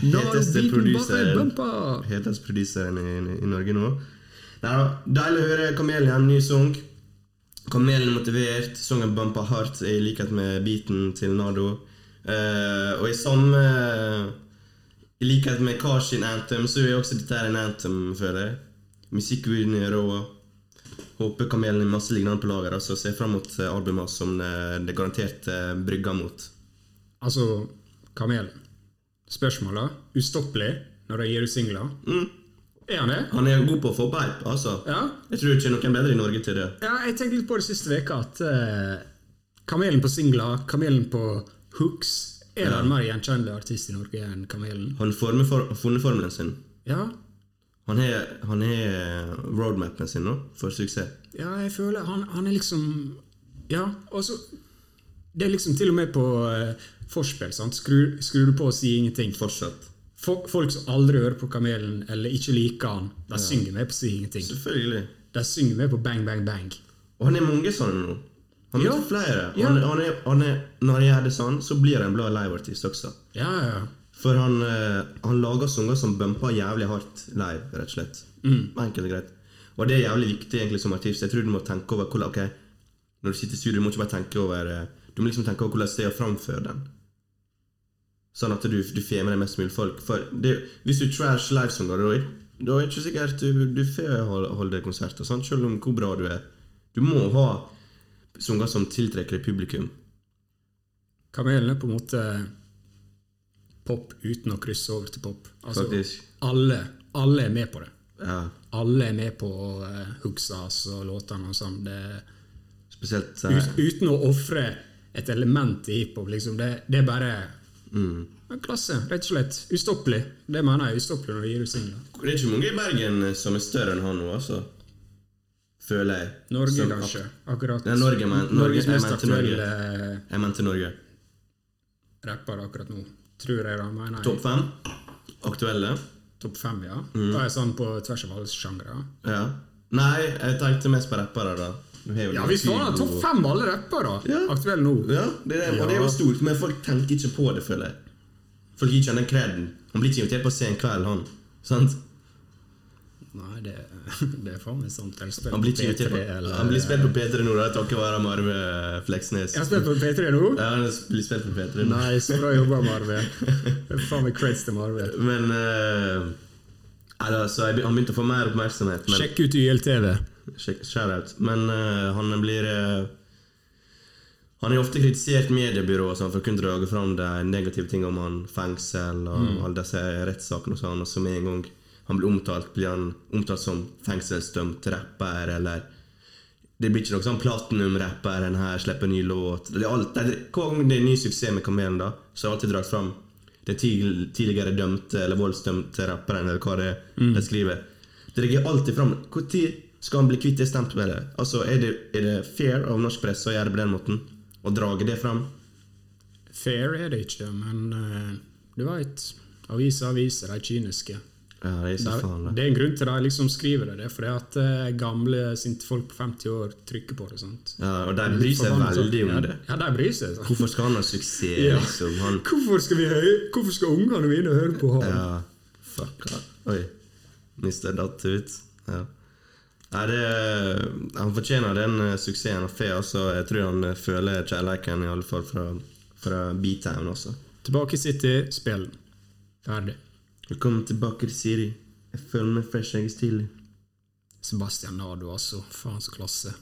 [SPEAKER 1] Heteste produseren
[SPEAKER 2] bumper!
[SPEAKER 1] Heteste produseren i, i, i Norge nå. Nei, da, deilig å høre Kamelen, ny sang. Kamelen er motivert. Sangen bampa hardt, i likhet med beaten til Nardo. Eh, og i samme I likhet med Kars sin anthem, så er også dette her en anthem, føler jeg. Musikkvideoen er rå. Håper Kamelen har masse lignende på lager. Altså, ser fram mot eh, albumet hans som eh, det garantert eh, brygger mot.
[SPEAKER 2] Altså, Kamelen. Spørsmålet ustoppelig når de gir ut singler.
[SPEAKER 1] Mm.
[SPEAKER 2] Er han det?
[SPEAKER 1] Han er god på å få opp hype, altså.
[SPEAKER 2] Ja.
[SPEAKER 1] Jeg tror ikke noen bedre i Norge til det.
[SPEAKER 2] ja jeg tenkte litt på det siste veka at eh, Kamelen på singler, Kamelen på hooks Er det en mer gjenkjennelig artist i Norge enn Kamelen?
[SPEAKER 1] Han former for, har funnet formelen sin.
[SPEAKER 2] Ja,
[SPEAKER 1] Han har han har roadmapen sin nå, for suksess.
[SPEAKER 2] ja jeg føler han, han er liksom Ja, og så Det er liksom til og med på eh, forspill. sant? Skrur, skrur du på og sier ingenting.
[SPEAKER 1] Fortsatt.
[SPEAKER 2] Folk, folk som aldri hører på Kamelen eller ikke liker han, de synger med på å si ingenting.
[SPEAKER 1] Selvfølgelig.
[SPEAKER 2] De synger med på Bang Bang Bang.
[SPEAKER 1] Og han er mange sånne nå. Han
[SPEAKER 2] Ja.
[SPEAKER 1] er flere.
[SPEAKER 2] Ja.
[SPEAKER 1] Han, han er, han er, når han gjør det sånn, så blir han en bra liveartist også.
[SPEAKER 2] Ja, ja.
[SPEAKER 1] For han, eh, han lager sanger som bumper jævlig hardt live, rett og slett. Enkelt og greit. Og det er jævlig viktig egentlig som artist. Jeg tror du må tenke over hvordan, ok, Når du sitter i studio, du må ikke bare tenke over eh, Du må liksom tenke over hvordan det er å framføre den. Sånn at du, du får med deg mest mulig folk. For det, hvis du trash livesanger, da er- da er det ikke sikkert du, du får hol- holde konserter, sant? selv om hvor bra du er. Du må ha sanger som tiltrekker deg publikum.
[SPEAKER 2] Kamelen er på en måte pop uten å krysse over til pop. Altså,
[SPEAKER 1] Faktisk.
[SPEAKER 2] alle, alle er med på det.
[SPEAKER 1] Ja,
[SPEAKER 2] Alle er med på uh, hooksa og låtene og sånn. Det,
[SPEAKER 1] spesielt eh,
[SPEAKER 2] ut, uten å ofre et element i hiphop, liksom. Det, det er bare
[SPEAKER 1] mm.
[SPEAKER 2] Ja, klasse, rett og slett. Ustoppelig. Det mener jeg. Ustoppelig når du gir ut singler.
[SPEAKER 1] Det er ikke mange i Bergen eh, som er større enn han nå, altså. Føler jeg.
[SPEAKER 2] Norge,
[SPEAKER 1] Som-
[SPEAKER 2] kanskje. Akkurat.
[SPEAKER 1] Ja, Norge, men- Norge-
[SPEAKER 2] Norges
[SPEAKER 1] jeg
[SPEAKER 2] mest
[SPEAKER 1] mente
[SPEAKER 2] aktuelle
[SPEAKER 1] Jeg mente Norge.
[SPEAKER 2] rapper akkurat nå. Tror jeg, da. Mener jeg.
[SPEAKER 1] Topp Mm. fem aktuelle.
[SPEAKER 2] Topp fem, ja. Da er jeg sånn på tvers av alle sjangre. ja.
[SPEAKER 1] Ja. Nei, jeg tenkte mest på rappere, da. Vi har jo
[SPEAKER 2] Ja,
[SPEAKER 1] noen
[SPEAKER 2] vi får da
[SPEAKER 1] Kygo
[SPEAKER 2] topp
[SPEAKER 1] og-
[SPEAKER 2] fem alle rappere
[SPEAKER 1] Ja.
[SPEAKER 2] aktuelle nå.
[SPEAKER 1] Ja, det er det. Og det er jo
[SPEAKER 2] Ja.
[SPEAKER 1] stort, men folk tenker ikke på det, føler jeg. Folk gir ikke han den kreden. Han blir ikke invitert på sen kveld, han. Sant?
[SPEAKER 2] Nei, det, det er faen meg sant. Jeg spiller
[SPEAKER 1] Han blir ikke
[SPEAKER 2] på
[SPEAKER 1] invitert
[SPEAKER 2] P3
[SPEAKER 1] på
[SPEAKER 2] eller-
[SPEAKER 1] Han blir spilt på P3 nå, da, takket være Marve Fleksnes.
[SPEAKER 2] Jeg har spilt på P3 nå?
[SPEAKER 1] Ja, han blir spilt på P3 nå.
[SPEAKER 2] Nei, så bra jobba, Marve. Det er faen meg creds til Marve.
[SPEAKER 1] Men eh, nei da, så jeg, be- Han begynte å få mer oppmerksomhet. Men,
[SPEAKER 2] Sjekk ut YLTV.
[SPEAKER 1] Sjekk- Shoutout. Men eh, han blir eh, Han har ofte kritisert mediebyrået og sånn, for å kunne dra fram de negative tingene om han fengsel og alle disse rettssakene og sånn, og så med en gang han blir omtalt, blir han omtalt som fengselsdømt rapper eller det blir ikke noe sånn platinum-rapper, en her slipper ny låt det er alt, det, Hver gang det er ny suksess med Kamelen, da, så har jeg alltid dratt fram det tidl- tidligere dømte eller voldsdømte rapperen, eller hva det er de skriver. Det legger alltid fram Når skal han bli kvitt det stempelet? Altså, er det, er det fair av norsk presse å gjøre det på den måten? Å drage det fram?
[SPEAKER 2] Fair er det ikke, men eh, du veit. Aviser aviser, de er kyniske.
[SPEAKER 1] Ja, det er
[SPEAKER 2] Det
[SPEAKER 1] så
[SPEAKER 2] er,
[SPEAKER 1] faen, det.
[SPEAKER 2] det er en grunn til de liksom skriver det. Det er fordi at eh, gamle sinte folk på 50 år trykker på det. sant?
[SPEAKER 1] Ja, og de bryr seg
[SPEAKER 2] Forbannet, sant?
[SPEAKER 1] veldig om
[SPEAKER 2] Ja,
[SPEAKER 1] det.
[SPEAKER 2] Ja, de bryr seg. sant?
[SPEAKER 1] Hvorfor skal han ha suksess,
[SPEAKER 2] Ja.
[SPEAKER 1] liksom? Han
[SPEAKER 2] Hvorfor skal, vi hø- hvorfor skal ungene mine høre på han?
[SPEAKER 1] Ja, fuck Oi, mister datt ut ja. Nei, det, Han fortjener den eh, suksessen og fe altså. Jeg tror han eh, føler kjærleiken i alle fall fra, fra B-Town også
[SPEAKER 2] Tilbake i City, spill den. Ferdig.
[SPEAKER 1] Velkommen tilbake til Siri Jeg føler meg fresh, jeg er stilig
[SPEAKER 2] Sebastian Nado, altså. Faen så klasse.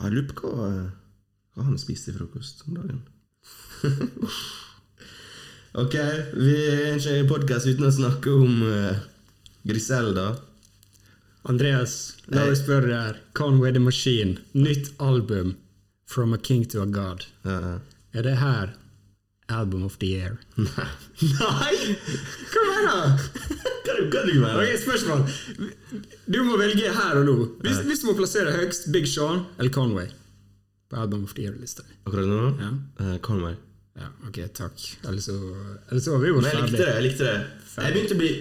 [SPEAKER 1] Jeg lurer på hva, eh, hva han spiste i frokost om dagen Ok, vi er ikke i podcast uten å snakke om eh, Griselda
[SPEAKER 2] Andreas, la
[SPEAKER 1] Nei.
[SPEAKER 2] meg spørre deg her. Conway the Machine, nytt album. From a king to a god.
[SPEAKER 1] Ja,
[SPEAKER 2] Er det her Album of the Year? Nei! Nei? Hva mener du?
[SPEAKER 1] Kan du være?
[SPEAKER 2] Ok, spørsmål. Du må velge her og nå. Hvis, hvis du må plassere høyst Big Sean eller Conway på Album of the Year-lista di.
[SPEAKER 1] Akkurat nå?
[SPEAKER 2] Ja.
[SPEAKER 1] Eh, Conway.
[SPEAKER 2] Ja, ok, takk. Ellers så ellers så har vi jo
[SPEAKER 1] Men jeg likte det. Jeg likte det. Jeg begynte å bli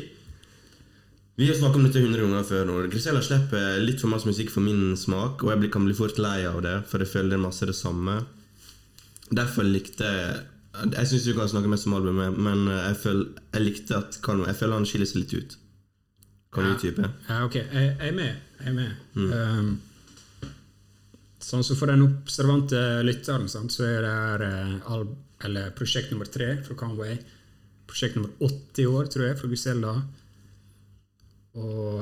[SPEAKER 1] Vi har snakket om dette 100 ganger før. nå. Grisella slipper litt for masse musikk for min smak, og jeg blir- kan bli fort lei av det, for jeg føler det er masse det samme. Derfor likte jeg Jeg syns du kan snakke mest om albumet, men eh, jeg, føl, jeg likte at Conway Jeg føler han skiller seg litt ut. Kan du utdype?
[SPEAKER 2] Ja, ok. Jeg, jeg er med. Jeg er med. Um, sånn så For den observante lytteren sant, så er det her, eh, alb eller prosjekt nummer tre fra Conway. Prosjekt nummer 80 i år, tror jeg, fra Gusella. Og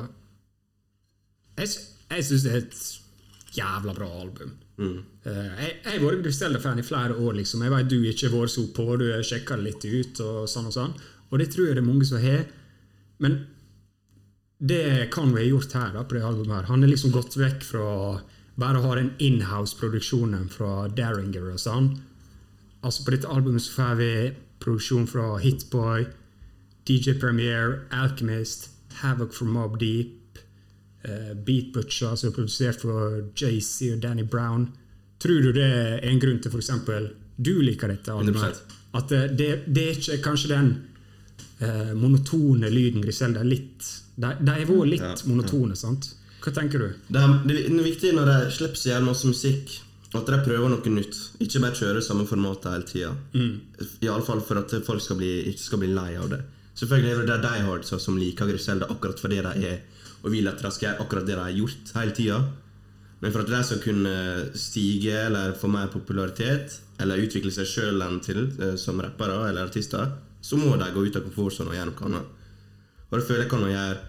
[SPEAKER 2] jeg, sy- jeg syns det er et jævla bra album. Eh, jeg jeg har vært Gusella-fan i flere år. liksom. Jeg vet du ikke har vært så på, du sjekka det litt ut, og sånn og sånn. Og det tror jeg det er mange som har. Men det Conway har gjort her, da, på det albumet her, han har liksom gått vekk fra bare å ha den inhouse-produksjonen fra Daringer og sånn. Altså På dette albumet så får vi produksjon fra Hitboy, DJ Premier, Alchemist, Havoc fra Mob Deep, eh, Beat Butcher, som er produsert for JC og Danny Brown. Tror du det er en grunn til f.eks. du liker dette albumet? her?
[SPEAKER 1] 100%.
[SPEAKER 2] At det, det, det er ikke kanskje den eh, monotone lyden Griselda er litt De de har vært litt
[SPEAKER 1] Ja, ja.
[SPEAKER 2] monotone, sant? Hva tenker du?
[SPEAKER 1] Det er, det er viktig når de slipper så jævlig masse musikk, At de prøver noe nytt. Ikke bare kjøre samme format hele tida. I alle fall for at folk skal bli, ikke skal bli lei av det. Selvfølgelig er det de hardsa som liker Griselda akkurat for det de er, og vil at de skal gjøre akkurat det de har gjort hele tida. Men for at de skal kunne stige eller få mer popularitet, eller utvikle seg sjøl til eh, som rappere eller artister, så må de gå ut av komfortsonen og gjøre noe annet. Og det føler jeg kan man gjøre.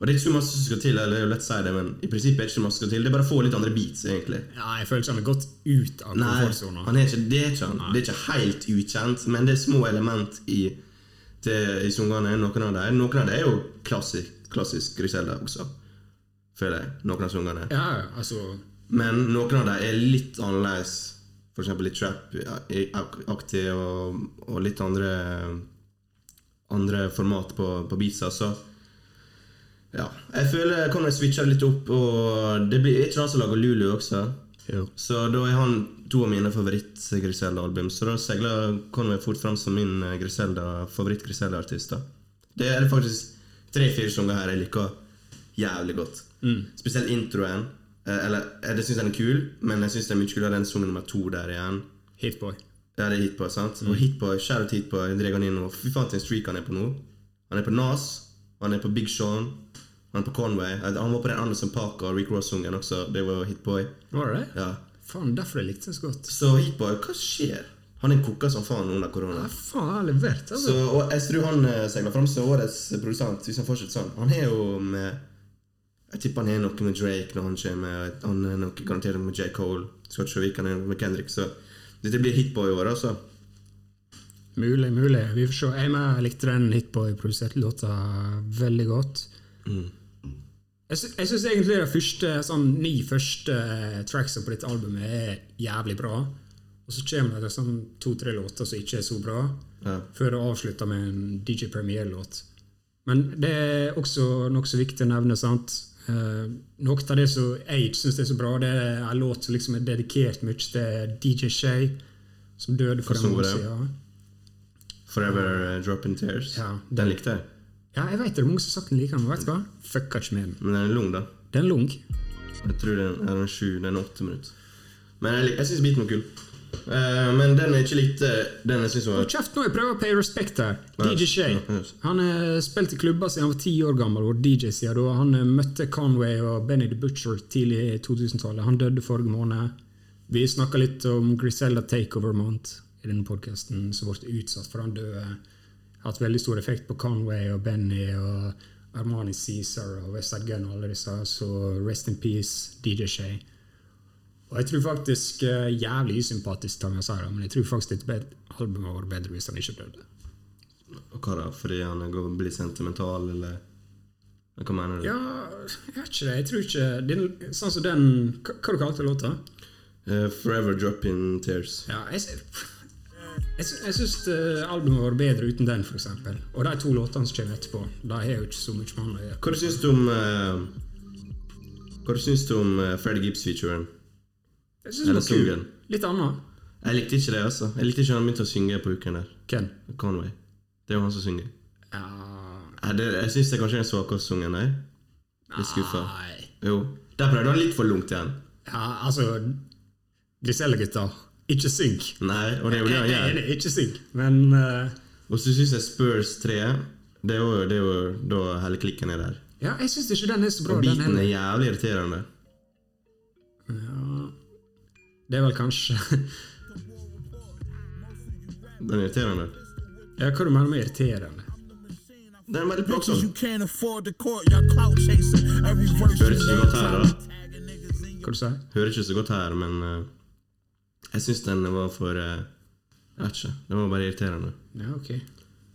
[SPEAKER 1] Og det er ikke så masse som skal til, eller det er jo lett å si det, men i prinsippet er det ikke så masse som skal til. Det er bare å få litt andre beats, egentlig.
[SPEAKER 2] Ja, jeg føler ikke han har gått ut av
[SPEAKER 1] Nei,
[SPEAKER 2] komfortsona.
[SPEAKER 1] han er ikke, det er ikke han. Det er ikke helt ukjent, men det er små element i, til, i sangene. Noen av dem Noen av dem er jo klassisk, klassisk Griselda også, føler jeg. Noen av sangene.
[SPEAKER 2] Ja, altså
[SPEAKER 1] Men noen av dem er litt annerledes. For eksempel litt trap-aktig og, og litt andre Andre format på, på altså. beatsa, så ja. Jeg føler jeg kommer til å switche det litt opp, og det blir er ikke han som lager Lulu også. Så da er han to av mine favoritt-Griselda-album, så da seiler Conway fort fram som min eh, Griselda, favoritt-Griselda-artist. da. Det er det faktisk tre-fire sanger her jeg liker jævlig godt. Spesielt introen. eh, Eller, eh, det syns jeg den er kul, men jeg syns det er mye kulere den sang nummer to der igjen.
[SPEAKER 2] Hitboy.
[SPEAKER 1] Ja, det er Hitboy, sant? Og Hitboy, Shout-out Hitboy drar han inn nå. Fy faen til en streak han er på nå. Han er på Nas, han er på Big Sean, han er på Conway. Eh, Han var på den Anderson Parker og Rick Ross-sungen også. Det var Hitboy.
[SPEAKER 2] Var det det?
[SPEAKER 1] Ja.
[SPEAKER 2] Faen, derfor jeg likte den så godt.
[SPEAKER 1] Så Hitboy, hva skjer? Han er koka som faen under korona.
[SPEAKER 2] Ja, faen, jeg har levert,
[SPEAKER 1] Så,
[SPEAKER 2] altså.
[SPEAKER 1] og jeg tror han eh, seiler fram som årets produsent, hvis han fortsetter sånn. Han er jo med Jeg tipper han er noe med Drake når han kommer. Han er noe garantert med J. Cole. Skal ikke se hvilken han er med Kendrick, så dette blir hitboy i år, altså.
[SPEAKER 2] Mulig, mulig. Vi får se. Jeg med likte den Hitboy-produserte låta veldig godt. Jeg, sy jeg syns egentlig de første, sånn, ni første eh, tracksa på dette albumet er jævlig bra. Og så kommer det sånn to-tre låter som ikke er så bra,
[SPEAKER 1] Ja.
[SPEAKER 2] før det avslutter med en DJ Premier-låt. Men det er også nokså viktig å nevne, sant. Eh, noe av det som jeg ikke syns er så bra, det er en låt som liksom er dedikert mye til DJ Shay, som døde for en
[SPEAKER 1] som var
[SPEAKER 2] måned
[SPEAKER 1] det?
[SPEAKER 2] siden.
[SPEAKER 1] Forever eh, Drop in Tears.
[SPEAKER 2] Ja.
[SPEAKER 1] Den likte jeg.
[SPEAKER 2] Ja, jeg vet det. det er Mange som har sagt den liker den, men vet du hva? Fucka ikke med den.
[SPEAKER 1] Men den er lang, da.
[SPEAKER 2] Den er lung.
[SPEAKER 1] Jeg tror den er en sju, den er åtte minutter. Men jeg, lik- jeg syns beaten var kul. Eh, men den jeg ikke likte, den jeg syns
[SPEAKER 2] Hold
[SPEAKER 1] var
[SPEAKER 2] kjeft nå, jeg prøver å pay respect her.
[SPEAKER 1] Ja,
[SPEAKER 2] DJ Shay.
[SPEAKER 1] ja, yes.
[SPEAKER 2] Han har spilt i klubber siden han var ti år gammel, og DJ siden da. Han eh, møtte Conway og Benny the Butcher tidlig i 2000-tallet. Han døde forrige måned. Vi snakka litt om Griselda Takeover Month i denne podkasten, som ble utsatt for han døde. Hatt veldig stor effekt på Conway og Benny og Armani Cæsar og Westside Gun og alle disse. Så rest in peace, DJ Shay. Og jeg tror faktisk eh, jævlig usympatisk Tanja Sara, men jeg tror faktisk det bed- albumet var bedre hvis han ikke døde.
[SPEAKER 1] Hva da? Fordi han går- blir sentimental, eller Hva mener du?
[SPEAKER 2] Ja, jeg vet ikke det. Jeg tror ikke den, Sånn som den Hva hva du kalte låta?
[SPEAKER 1] Eh, forever Drop in Tears.
[SPEAKER 2] Ja, jeg, sy- jeg, sy- jeg syns eh, albumet var bedre uten den, f.eks. Og de to låtene som kommer etterpå, de har jo ikke så mye med han å gjøre.
[SPEAKER 1] Hva du syns du om eh, Hva du syns du om eh, Freddie Gibbs-featuren?
[SPEAKER 2] Jeg synes den var
[SPEAKER 1] Eller
[SPEAKER 2] kul.
[SPEAKER 1] sangen.
[SPEAKER 2] Litt annet.
[SPEAKER 1] Jeg likte ikke det, altså. Jeg likte ikke han begynte å synge på uken der.
[SPEAKER 2] Ken?
[SPEAKER 1] Conway. Det er jo han som synger.
[SPEAKER 2] Ja,
[SPEAKER 1] Eh, det, jeg syns det er kanskje den svakeste sangen, nei. Litt skuffa.
[SPEAKER 2] nei.
[SPEAKER 1] Jo. Der prøvde han litt for langt igjen.
[SPEAKER 2] Ja, altså Griselle-gutta, ikke synk.
[SPEAKER 1] Nei, og det er jo det
[SPEAKER 2] Jeg
[SPEAKER 1] han
[SPEAKER 2] jeg er
[SPEAKER 1] gjør.
[SPEAKER 2] enig, ikke synk, men eh,
[SPEAKER 1] Og så syns jeg Spurs 3 Det er jo, det er jo da hele klikken er der.
[SPEAKER 2] Ja, jeg syns ikke den er så bra.
[SPEAKER 1] Og
[SPEAKER 2] Den
[SPEAKER 1] beaten
[SPEAKER 2] heller.
[SPEAKER 1] er jævlig irriterende.
[SPEAKER 2] Det er vel kanskje
[SPEAKER 1] Den er irriterende.
[SPEAKER 2] Ja, hva du mener med irriterende?
[SPEAKER 1] Den er veldig
[SPEAKER 5] Cause you
[SPEAKER 1] plagsom.
[SPEAKER 5] can't afford the court, y'all clout chasing. Every verse
[SPEAKER 1] Hører ikke så
[SPEAKER 5] you
[SPEAKER 1] godt her, da.
[SPEAKER 2] Hva du sier?
[SPEAKER 1] hører ikke så godt her, men eh, jeg syns den var for eh, Jeg vet ikke. Den var bare irriterende.
[SPEAKER 2] Ja, ok.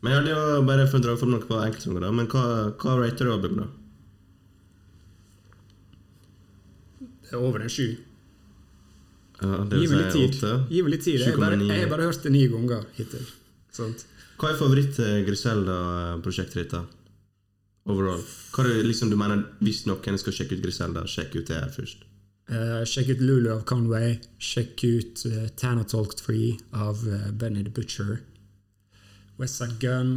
[SPEAKER 1] Men ja, det var bare for å dra fram noe på enkeltsanger, da. Men hva, hva rater du albumet, da?
[SPEAKER 2] Det er over en sju.
[SPEAKER 1] Ja, det
[SPEAKER 2] Gi
[SPEAKER 1] vil
[SPEAKER 2] meg litt
[SPEAKER 1] si
[SPEAKER 2] tid.
[SPEAKER 1] åtte.
[SPEAKER 2] Gi meg litt tid. Jeg har bare,
[SPEAKER 1] 7,9.
[SPEAKER 2] jeg har bare hørt det ni ganger hittil. Sant?
[SPEAKER 1] Hva er favoritt-Griselda-prosjektet ditt, da? Overall. Hva er det liksom du mener hvis noen skal sjekke ut Griselda, sjekk ut det her først?
[SPEAKER 2] Eh, sjekk ut Lulu av Conway. Sjekk ut uh, Tana Talked Free av eh, Benny the Butcher. Westside Gun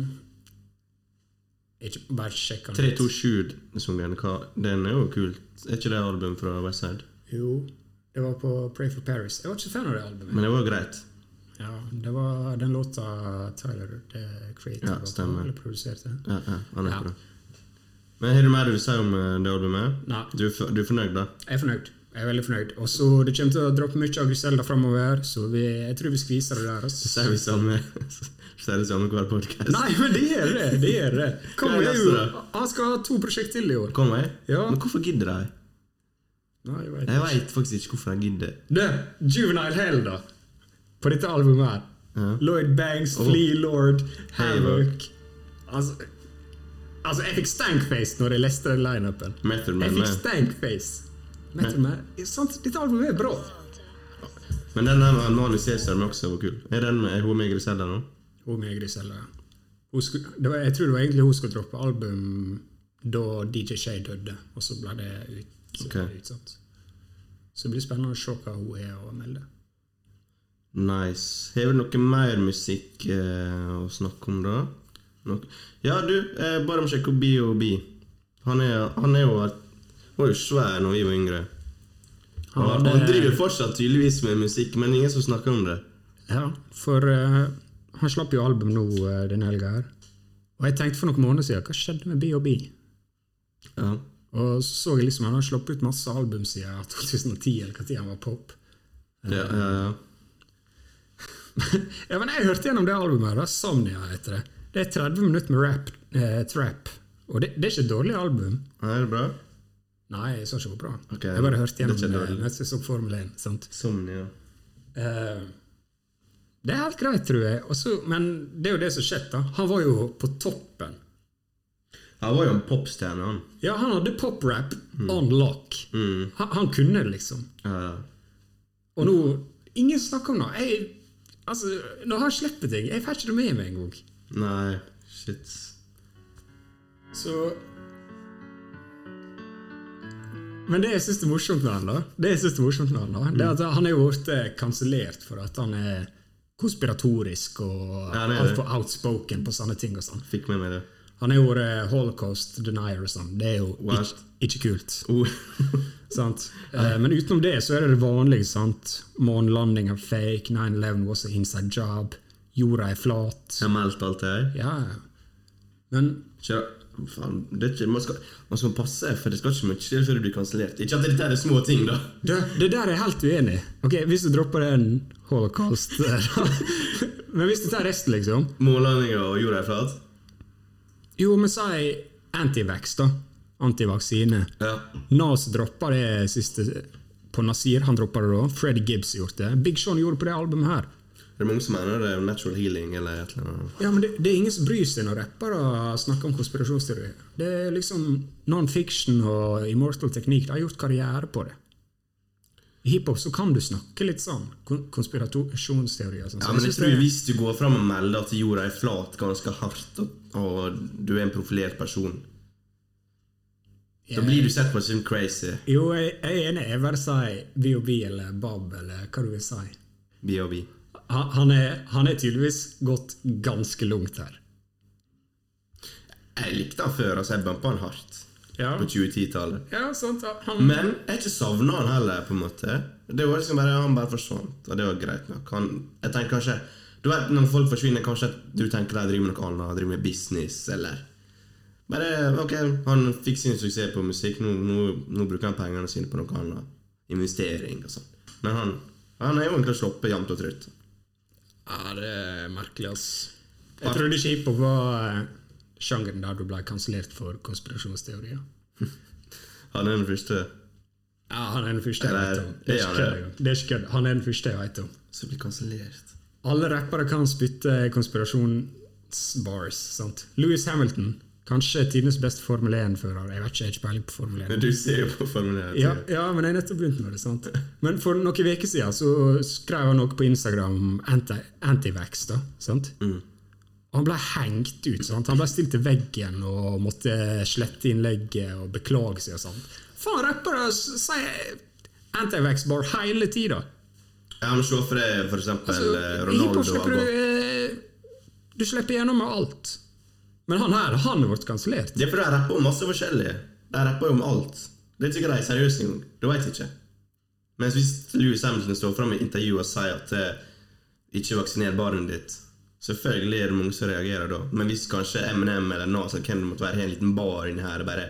[SPEAKER 2] Ikke bare sjekk han
[SPEAKER 1] 327-sungen, hva Den er jo kult. Er ikke det album fra Westside?
[SPEAKER 2] Jo. Det var på Pray for Paris. Jeg var ikke så fan av det albumet.
[SPEAKER 1] Men det var greit.
[SPEAKER 2] Ja, det var den låta Tyler the Creator
[SPEAKER 1] Ja,
[SPEAKER 2] var på,
[SPEAKER 1] stemmer.
[SPEAKER 2] eller produserte.
[SPEAKER 1] Ja, ja, han er
[SPEAKER 2] Ja.
[SPEAKER 1] bra. Men Har du mer du vil si om eh, det albumet?
[SPEAKER 2] Nei.
[SPEAKER 1] Du, er f- du er fornøyd, da?
[SPEAKER 2] Jeg er fornøyd. Jeg er veldig fornøyd. Og så Det kommer til å droppe mye av Griselda framover, så vi, jeg tror vi skviser det der.
[SPEAKER 1] Så
[SPEAKER 2] ass.
[SPEAKER 1] sier vi samme så sier det samme hver podcast.
[SPEAKER 2] Nei, men det gjør det! det gjør det. Kom,
[SPEAKER 1] Hva er
[SPEAKER 2] det er jo,
[SPEAKER 1] neste da?
[SPEAKER 2] han skal ha to prosjekt til i år.
[SPEAKER 1] Kom jeg?
[SPEAKER 2] Ja.
[SPEAKER 1] Men hvorfor gidder de?
[SPEAKER 2] Nei, jeg vet.
[SPEAKER 1] Jeg vet faktisk ikke hvorfor de gidder.
[SPEAKER 2] Det, Juvenile Hell, da. På dette albumet her.
[SPEAKER 1] Ja.
[SPEAKER 2] Lloyd Banks,
[SPEAKER 1] Oh.
[SPEAKER 2] Flea Lord,
[SPEAKER 1] Havoc.
[SPEAKER 2] Havoc. Altså, altså, jeg fikk stankface når jeg leste den lineupen.
[SPEAKER 1] Method Man
[SPEAKER 2] Jeg fikk
[SPEAKER 1] med.
[SPEAKER 2] stankface. Method Man. er Sant, dette albumet er bra.
[SPEAKER 1] Men den der med Manu Cæsar med også var kul. Er den med, er hun med i Griselda nå?
[SPEAKER 2] Hun med Grisella. Hun skulle, det var, jeg tror det var egentlig hun skulle droppe album da DJ Shay døde, og så ble det ut, så ble det utsatt. Så det blir spennende å se hva hun er og melde.
[SPEAKER 1] Nice. Har vi noe mer musikk eh, å snakke om, da? Nok- Ja, du, eh, bare må sjekke opp B.O.B. Han er, han er jo han var jo svær når vi var yngre. Han, han, driver fortsatt tydeligvis med musikk, men ingen som snakker om det.
[SPEAKER 2] Ja, for eh, han slapp jo album nå eh, denne helga her. Og jeg tenkte for noen måneder siden, hva skjedde med B&B?
[SPEAKER 1] Ja.
[SPEAKER 2] Og så så jeg liksom, han har sluppet ut masse album siden 2010, eller hva tid han var pop.
[SPEAKER 1] Det, ja, ja.
[SPEAKER 2] ja, men jeg hørte gjennom det albumet her, da, Somnia heter det. Det er 30 minutter med rap, eh, trap. Og det, det er ikke et dårlig album.
[SPEAKER 1] Ja, Er det bra?
[SPEAKER 2] Nei, jeg sa ikke det var bra.
[SPEAKER 1] Ok,
[SPEAKER 2] jeg bare hørte
[SPEAKER 1] det er
[SPEAKER 2] gjennom
[SPEAKER 1] ikke
[SPEAKER 2] det
[SPEAKER 1] dårlig.
[SPEAKER 2] mens jeg så på Formel 1. sant?
[SPEAKER 1] Somnia.
[SPEAKER 2] Eh, det er helt greit, tror jeg. Og så- men det er jo det som skjedde. da. Han var jo på toppen.
[SPEAKER 1] Han var jo en popstjerne, han.
[SPEAKER 2] Ja, han hadde poprap
[SPEAKER 1] Mm.
[SPEAKER 2] on lock. Han, han kunne det, liksom.
[SPEAKER 1] Ja, ja.
[SPEAKER 2] Og nå Ingen snakker om det. Jeg, altså, når han slipper ting, jeg får ikke det med meg engang.
[SPEAKER 1] Nei, shit.
[SPEAKER 2] Så Men det jeg syns er morsomt med han da, det jeg synes er morsomt med han da, det er at han er jo blitt kansellert for at han er konspiratorisk og
[SPEAKER 1] Ja, det er det.
[SPEAKER 2] altfor outspoken på sånne ting. og sånn.
[SPEAKER 1] Fikk med meg det.
[SPEAKER 2] Han er jo vært holocaust denier og sånn. Det er jo
[SPEAKER 1] What?
[SPEAKER 2] ikke, ikke kult.
[SPEAKER 1] Oh.
[SPEAKER 2] Sant? Eh, men utenom det så er det det vanlige. sant? Månelanding er fake, 9-11 was an inside job, jorda er flat.
[SPEAKER 1] Jeg meldte alt det her.
[SPEAKER 2] Ja, Men
[SPEAKER 1] Ikke, faen, det er ikke, man, skal, man skal passe, for det skal ikke mye til før du blir kansellert. Ikke at dette er små ting, da.
[SPEAKER 2] det, det der er jeg helt uenig i. Ok, Hvis du dropper den holocaust eh, da. Men hvis du tar resten, liksom
[SPEAKER 1] Målandinger og jorda er flat.
[SPEAKER 2] Jo, men si antivax, da. Antivaksine.
[SPEAKER 1] Ja.
[SPEAKER 2] Nas droppa det siste på Nasir. Han droppa det da. Freddy Gibbs gjorde det. Big Sean gjorde det på det albumet her.
[SPEAKER 1] Det er mange som mener det er natural healing eller et eller annet.
[SPEAKER 2] Ja, men det, det er ingen som bryr seg når rappere snakker om konspirasjonsteorier. Det er liksom non-fiction og immortal teknikk. De har gjort karriere på det. I hiphop så kan du snakke litt sånn. kon- Konspirasjonsteorier og sånn.
[SPEAKER 1] Ja,
[SPEAKER 2] Så
[SPEAKER 1] men
[SPEAKER 2] jeg
[SPEAKER 1] jeg
[SPEAKER 2] synes
[SPEAKER 1] tror
[SPEAKER 2] det-
[SPEAKER 1] Hvis du går fram og melder at jorda er flat ganske hardt, og, og du er en profilert person, da blir du sett på som crazy.
[SPEAKER 2] Jo, jeg, jeg er enig. Jeg bare sier BOB eller Bob eller hva du vil si.
[SPEAKER 1] B.O.B.
[SPEAKER 2] Han, han, er, han er tydeligvis gått ganske langt her.
[SPEAKER 1] Jeg likte han før, altså. Jeg bumpa han hardt
[SPEAKER 2] Ja,
[SPEAKER 1] på 2010-tallet.
[SPEAKER 2] ja sant. ja. Han,
[SPEAKER 1] Men jeg har ikke savna han heller, på en måte. Det var liksom bare, Han bare forsvant, og det var greit nok. Han, jeg tenker kanskje Du vet når folk forsvinner, kanskje at du tenker de driver med noe annet, driver med business, eller Bare ok, han fikk sin suksess på musikk, nå, nå, nå bruker han pengene sine på noe annet. Investering og sånn. Men han han er jo egentlig sluppet jevnt og trutt.
[SPEAKER 2] Ja, det er merkelig, ass. Jeg trodde ikke hiphop var eh, sjangeren der du ble kansellert for konspirasjonsteorier.
[SPEAKER 1] Han er den første
[SPEAKER 2] Ja, han er den første jeg
[SPEAKER 1] Eller,
[SPEAKER 2] vet om. Det er
[SPEAKER 1] er han
[SPEAKER 2] ikke kødd engang. Det er ikke kødd. Han er den første jeg vet om.
[SPEAKER 1] som blir kansellert.
[SPEAKER 2] Alle rappere kan spytte konspirasjonsbars, sant? Louis Hamilton, kanskje tidenes beste Formel 1-fører. Jeg vet ikke, jeg har ikke peiling på Formel 1.
[SPEAKER 1] Men du ser jo på Formel 1.
[SPEAKER 2] Ja, ja, men jeg har nettopp begynt med det. sant? Men for noen uker siden så skrev han noe på Instagram om anti- antivax. da, sant? Og Han ble hengt ut. sant? Han ble stilt til veggen og måtte slette innlegget og beklage seg. og sånt. Faen, rappere s- sier antivax-bar hele tida!
[SPEAKER 1] Ja, men se for deg for eksempel eh,
[SPEAKER 2] Hiphop
[SPEAKER 1] Ronaldo.
[SPEAKER 2] slipper du
[SPEAKER 1] Abba.
[SPEAKER 2] eh, Du slipper gjennom med alt. Men han her, han har blitt kansellert.
[SPEAKER 1] Det er fordi de rapper om masse forskjellig. De rapper jo om alt. Det er ikke de er seriøse engang. Du veit ikke. Mens hvis Louis Hamilton står fram i intervju og sier at eh, 'ikke vaksiner barnet ditt', selvfølgelig er det mange som reagerer da. Men hvis kanskje Eminem eller Nas eller hvem det måtte være, har en liten bar inni her og bare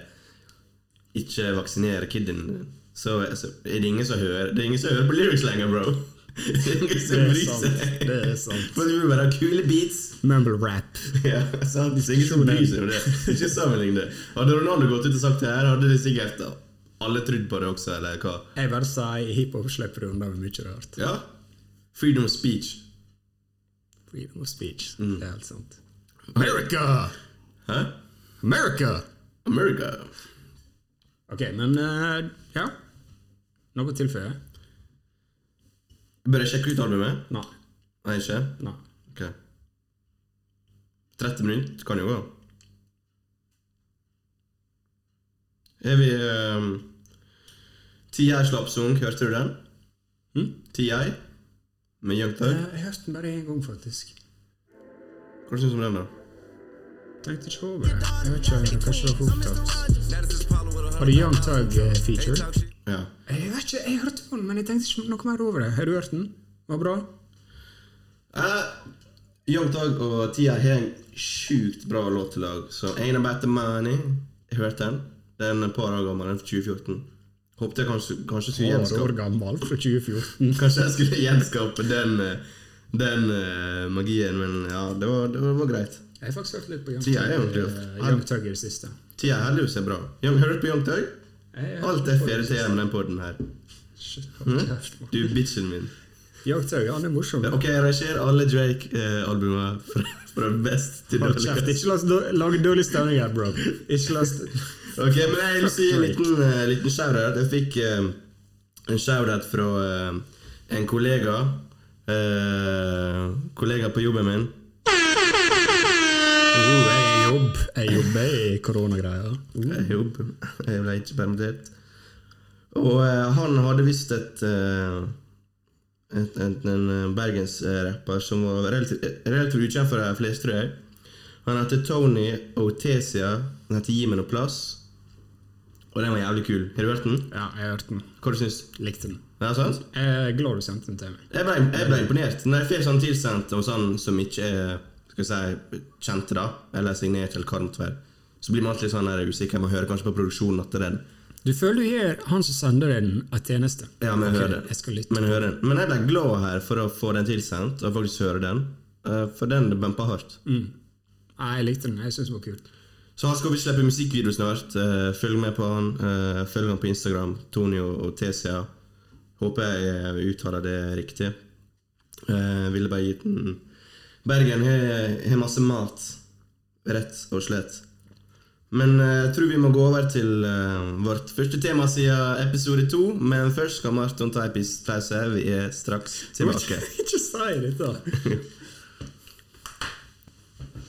[SPEAKER 1] 'ikke vaksinere kiden din', så, så er det ingen som hører Det er ingen som hører på lyrics lenger, bro. Det er ingen som
[SPEAKER 2] Det er
[SPEAKER 1] bryr seg.
[SPEAKER 2] sant, det er sant.
[SPEAKER 1] For du vil bare ha kule beats.
[SPEAKER 2] Mumble rap.
[SPEAKER 1] Ja, sant? Det er sikkert som bryr seg om det. Ikke sammenlign det. Hadde Ronaldo gått ut og sagt det her, hadde det sikkert alle trodd på det også, eller hva?
[SPEAKER 2] Jeg bare sier hiphop slipper du unna med mye rart.
[SPEAKER 1] Ja. Freedom of speech.
[SPEAKER 2] Freedom of speech. Det er helt sant. Mm. America!
[SPEAKER 1] Hæ?
[SPEAKER 2] America!
[SPEAKER 1] America.
[SPEAKER 2] Ok, men eh, ja. Noe å tilføye?
[SPEAKER 1] Bør jeg sjekke ut albumet?
[SPEAKER 2] Nei.
[SPEAKER 1] Nei, ikke?
[SPEAKER 2] Nei.
[SPEAKER 1] Ok. 30 minutter kan jo gå. Er vi um, TI Slappsung, hørte du den?
[SPEAKER 2] Hm?
[SPEAKER 1] TI? Med Young Thug?
[SPEAKER 2] Jeg hørte den Eh, bare én gang, faktisk.
[SPEAKER 1] Hva syns du om den, da?
[SPEAKER 2] Tenkte ikke over det. Jeg vet ikke, kanskje det var for opptatt. Var det Young Tug eh, feature?
[SPEAKER 1] Ja.
[SPEAKER 2] Jeg vet ikke, jeg hørte på den, men jeg tenkte ikke noe mer over det. Har du hørt den? Var bra?
[SPEAKER 1] Eh, Young Tog og Tia har en sjukt bra låt til lag. Så Ain't About The Money, jeg hørte den. Den er et par år gammel, den er fra 2014. Håpte jeg kanskje, kanskje skulle
[SPEAKER 2] Åtte år
[SPEAKER 1] gjenskape
[SPEAKER 2] gammel, fra 2014.
[SPEAKER 1] Kanskje jeg skulle gjenskape den, eh, den eh, magien, men ja, det var, det var, det var greit.
[SPEAKER 2] Jeg har faktisk hørt litt på Young
[SPEAKER 1] Tida er jo
[SPEAKER 2] Tug,
[SPEAKER 1] døvt.
[SPEAKER 2] eh, Young Tug i det siste.
[SPEAKER 1] Tia holder jo seg bra. Young, hører du på Young Tog?
[SPEAKER 2] Jeg har
[SPEAKER 1] Alt
[SPEAKER 2] hørt
[SPEAKER 1] er
[SPEAKER 2] på det
[SPEAKER 1] fede
[SPEAKER 2] siste.
[SPEAKER 1] til med den podden her.
[SPEAKER 2] Shit, jeg har ikke hørt på.
[SPEAKER 1] Du bitchen min.
[SPEAKER 2] Young Tug, han er morsom.
[SPEAKER 1] Ok, jeg rangerer alle Drake-albumene fra, fra best til
[SPEAKER 2] Hold kjeft,
[SPEAKER 1] dårligst.
[SPEAKER 2] ikke la oss dår- lage dårlig stemning her, bro. Ikke la oss
[SPEAKER 1] Ok, men jeg vil si en liten, eh, liten shout-out. Jeg fikk eh, en shout-out fra eh, en kollega. eh, kollega på jobben min.
[SPEAKER 2] Oh, jeg er i jobb. Jeg jobber i koronagreier.
[SPEAKER 1] Jeg, jobb. jeg ble ikke permittert. Og eh, han hadde visst et, eh, et, et En bergensrapper som var relativt, relativt ukjent for de fleste, tror jeg. Han heter Tony Otesia. Han heter Gi meg noe plass. Og den var jævlig kul. Har du hørt den?
[SPEAKER 2] Ja, jeg har hørt den.
[SPEAKER 1] Hva du syns du?
[SPEAKER 2] Likte den.
[SPEAKER 1] Er det sant?
[SPEAKER 2] Jeg er glad du sendte den til meg.
[SPEAKER 1] Jeg ble, jeg ble imponert. Når jeg får sånn tilsendt av sånn som ikke er skal jeg si, kjente, da, eller signert, eller hva det måtte være, så blir man alltid sånn her usikker. Man hører kanskje på produksjonen at det er den.
[SPEAKER 2] Du føler du gjør han som sender deg den, en tjeneste.
[SPEAKER 1] Ja, men
[SPEAKER 2] Ok,
[SPEAKER 1] jeg hører
[SPEAKER 2] Jeg skal
[SPEAKER 1] den.
[SPEAKER 2] lytte.
[SPEAKER 1] Men, jeg hører den. men jeg ble glad her for å få den tilsendt, og faktisk høre den. eh, For den bumpa hardt.
[SPEAKER 2] Nei, jeg likte den. Jeg syns den var kul.
[SPEAKER 1] Så han skal visst slippe musikkvideo snart. eh, Følg med på han. eh, Følg han på Instagram. Tonio og Tesia. Håper jeg eh, uttaler det riktig. Eh, Ville bare gitt den Bergen har har masse mat. Rett og slett. Men eh, jeg tror vi må gå over til eh, vårt første tema siden episode to. Men først skal Marton ta en pis- pause. Vi er straks tilbake.
[SPEAKER 2] Ikke si dette!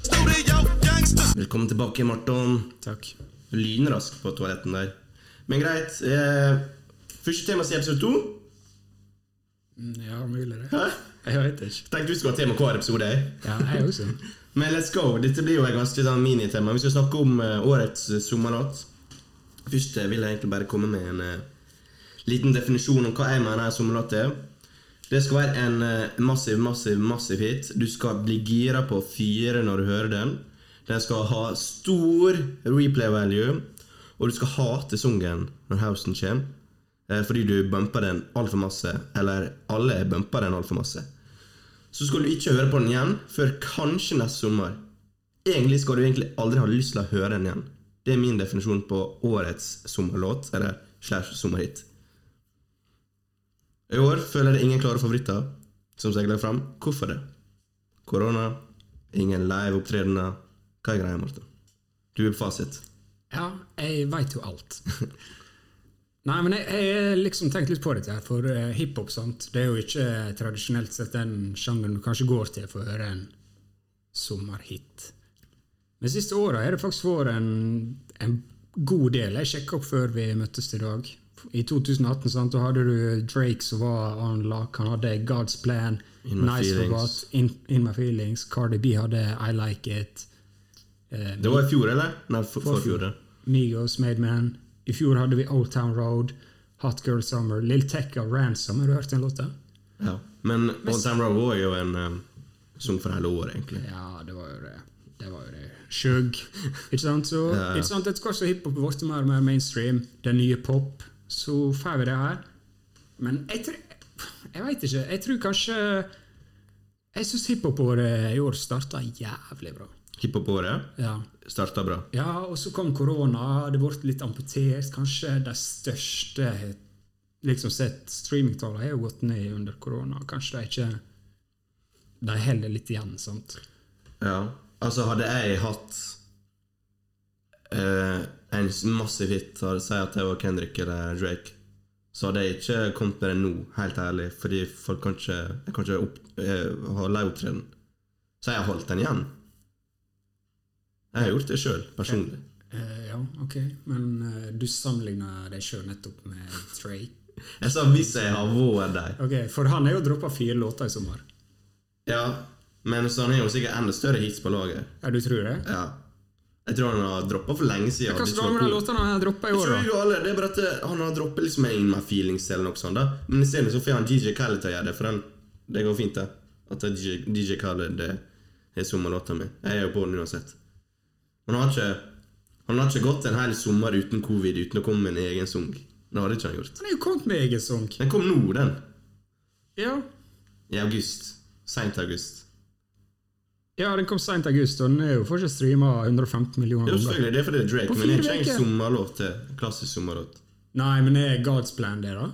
[SPEAKER 3] Studio gangsters.
[SPEAKER 1] Velkommen tilbake, Marton.
[SPEAKER 2] Takk.
[SPEAKER 1] lynrask på toaletten der. Men greit. Eh, første tema i episode to.
[SPEAKER 2] Mm, Ja, mulig det.
[SPEAKER 1] Hæ?
[SPEAKER 2] Jeg vet ikke.
[SPEAKER 1] Tenkte vi skulle ha tema hver episode. jeg.
[SPEAKER 2] Ja, jeg også.
[SPEAKER 1] Men let's go. Dette blir jo et ganske sånn minitema. Vi skal snakke om eh, årets eh, sommerlåt. Først eh, vil jeg egentlig bare komme med en eh, liten definisjon om hva jeg mener en sommerlåt er. Det skal være en eh, massiv, massiv, massiv hit. Du skal bli gira på å fyre når du hører den. Den skal ha stor replay value, og du skal hate sungen når housen kommer. eh, Fordi du bumper den altfor masse, eller alle bumper den altfor masse så skal du ikke høre på den igjen før kanskje neste sommer. Egentlig skal du egentlig aldri ha lyst til å høre den igjen. Det er min definisjon på årets sommerlåt, eller slash sommerhit. I år føler jeg det er ingen klare favoritter som seiler fram. Hvorfor det? Korona, ingen live opptredener. Hva er greia, Marta? Du er på fasit.
[SPEAKER 2] Ja, jeg veit jo alt. Nei, men jeg jeg har liksom tenkt litt på dette, her, for eh, hiphop sant? Det er jo ikke eh, tradisjonelt sett den sjangeren du kanskje går til for å høre en sommerhit. Men siste åra har det faktisk vært en, en god del. Jeg sjekka opp før vi møttes i dag. I 2018 sant, da hadde du Drake som var on lock. Han hadde God's Plan,
[SPEAKER 1] In My
[SPEAKER 2] Nice
[SPEAKER 1] Feelings.
[SPEAKER 2] Forgot, in, in My Feelings. Cardi B hadde I Like It. Eh,
[SPEAKER 1] Det var i fjor, eller? Nei, for, forfjor.
[SPEAKER 2] Migos, Made Man. I fjor hadde vi Old Town Road. Hot Girl Summer, Lill Tech av Ransom. Har du hørt den låta?
[SPEAKER 1] Ja. Men All Time Row var jo en eh, sang for hele året, egentlig.
[SPEAKER 2] Ja, det var jo det. Det var jo det. Sjøg. Ikke sant? Så,
[SPEAKER 1] Ja, ja.
[SPEAKER 2] ikke sant? Etter hvert som hiphop ble mer og mer mainstream, den nye pop, så får vi det her. Men jeg tror Jeg veit ikke. Jeg tror kanskje Jeg syns hiphop-året i år starta jævlig bra.
[SPEAKER 1] Hiphop-året
[SPEAKER 2] Ja.
[SPEAKER 1] starta bra.
[SPEAKER 2] ja, og så kom korona, det ble litt amputert. Kanskje de største liksom sett streamingtallene har jo gått ned under korona. Kanskje de ikke De holder litt igjen, sant?
[SPEAKER 1] Ja. Altså, hadde jeg hatt eh, en massiv hit, hadde si at det var Kendrick eller Drake, så hadde jeg ikke kommet med det nå, helt ærlig, fordi folk kan ikke Jeg kan ikke opp, eh, ha lei opptreden. Så jeg har holdt den igjen. Jeg har gjort det sjøl, personlig.
[SPEAKER 2] Eh, ja, ok. Men eh, du sammenligner deg sjøl nettopp med Drake.
[SPEAKER 1] Jeg sa hvis jeg har vært der.
[SPEAKER 2] Ok, For han har jo droppa fire låter i sommer.
[SPEAKER 1] Ja, men så han har jo sikkert enda større hits på lager.
[SPEAKER 2] Ja, du tror det?
[SPEAKER 1] Ja. Jeg tror han har droppa for lenge siden.
[SPEAKER 2] Hva
[SPEAKER 1] det
[SPEAKER 2] skal
[SPEAKER 1] ikke
[SPEAKER 2] du ha
[SPEAKER 1] var
[SPEAKER 2] med de
[SPEAKER 1] cool.
[SPEAKER 2] låtene han har droppa i
[SPEAKER 1] Jeg
[SPEAKER 2] år,
[SPEAKER 1] tror
[SPEAKER 2] da?
[SPEAKER 1] jo alle, det er bare at eh, han har droppet liksom en In My Feelings eller noe sånt. da Men isteden så får han DJ Khaled til å gjøre det, for han, det går fint, det. At det er DJ, DJ Khaled det er sommerlåta mi. Jeg er jo på den uansett. Han har ikke Han har ikke gått en hel sommer uten covid uten å komme med en egen sang. Det hadde ikke han gjort.
[SPEAKER 2] Han er jo kommet med egen sang.
[SPEAKER 1] Den kom nå, den.
[SPEAKER 2] Ja.
[SPEAKER 1] I august. Seint august.
[SPEAKER 2] ja, den kom seint i august, og den er jo fortsatt streama 115 millioner
[SPEAKER 1] Det er jo
[SPEAKER 2] ganger.
[SPEAKER 1] selvfølgelig det er fordi det er Drake,
[SPEAKER 2] På
[SPEAKER 1] men det er
[SPEAKER 2] fire
[SPEAKER 1] ikke en
[SPEAKER 2] uker.
[SPEAKER 1] sommerlåt til. Klassisk sommerlåt.
[SPEAKER 2] Nei, men er God's plan det, da?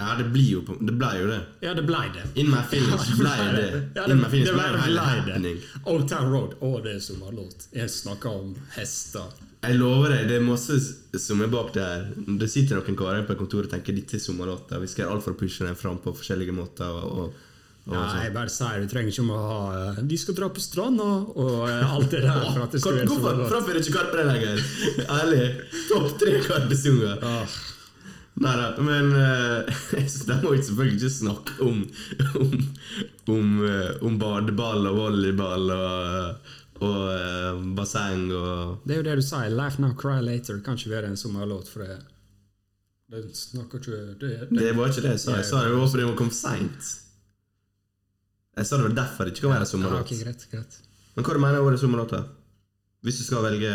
[SPEAKER 1] Ja, det blir jo på- Det ble jo det.
[SPEAKER 2] Ja, det blei det.
[SPEAKER 1] In My Feelings ble det.
[SPEAKER 2] Ja,
[SPEAKER 1] In My Feelings
[SPEAKER 2] det
[SPEAKER 1] ble jo
[SPEAKER 2] ble
[SPEAKER 1] hele
[SPEAKER 2] det.
[SPEAKER 1] happening.
[SPEAKER 2] Old Town Road. Å, det er sommerlåt. Jeg snakker om hester.
[SPEAKER 1] Jeg lover deg, det er masse s- som er bak det her. Det sitter noen karer på kontoret og tenker dette er sommerlåter. Vi skal gjøre alt for å pushe den fram på forskjellige måter. Og, og, og
[SPEAKER 2] Nei,
[SPEAKER 1] sånn.
[SPEAKER 2] jeg bare sier du trenger ikke om å ha eh, 'Vi skal dra på stranda' og eh, alt det der. for at det skal
[SPEAKER 1] Hvor-
[SPEAKER 2] være så
[SPEAKER 1] Hvorfor
[SPEAKER 2] godt.
[SPEAKER 1] framfører ikke Karpe den lenger? Ærlig. Topp tre Karpe-sanger.
[SPEAKER 2] Ah,
[SPEAKER 1] Nei da, men eh, de må jo selvfølgelig ikke snakke om om, om, eh, om badeball og volleyball og, og eh, basseng og
[SPEAKER 2] Det er jo det du sier. 'Laugh now, cry later' kan ikke være en sommerlåt, for det Det snakker ikke det, det.
[SPEAKER 1] Det var ikke det jeg sa. Jeg sa det var fordi hun kom seint. Jeg sa det var derfor det ikke kan være
[SPEAKER 2] Ja,
[SPEAKER 1] sommerlåt.
[SPEAKER 2] ok, greit, greit.
[SPEAKER 1] Men hva du mener du årets sommerlåt, da? Hvis du skal velge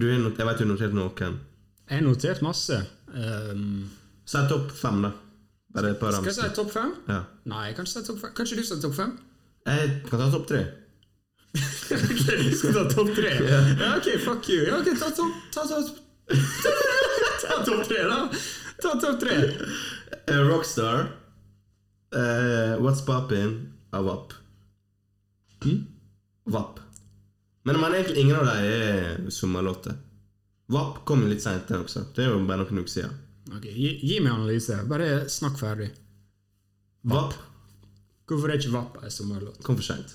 [SPEAKER 1] du er not Jeg vet du har notert noen.
[SPEAKER 2] Jeg har notert masse. Um,
[SPEAKER 1] Sett opp fem, da. Bare et par
[SPEAKER 2] skal jeg si
[SPEAKER 1] ramser.
[SPEAKER 2] topp fem?
[SPEAKER 1] Ja.
[SPEAKER 2] Nei, jeg kan ikke si topp fem. Kanskje du sier topp fem?
[SPEAKER 1] Jeg kan ta topp tre.
[SPEAKER 2] ok, du skal ta topp tre? Ja, ok, fuck you. Ja, ok, ta topp ta, topp- ta topp tre, da. Ta topp tre.
[SPEAKER 1] Eh, Rockstar. eh, What's Poppin' av WAP.
[SPEAKER 2] Mm.
[SPEAKER 1] WAP. Men man, egentlig ingen av dem er sommerlåter. WAP kom jo litt seint, den også. Det er jo bare noen uker siden.
[SPEAKER 2] Ok, gi, gi meg analyse. Bare snakk ferdig.
[SPEAKER 1] WAP
[SPEAKER 2] Hvorfor er ikke Vapp en sommerlåt?
[SPEAKER 1] kom for seint.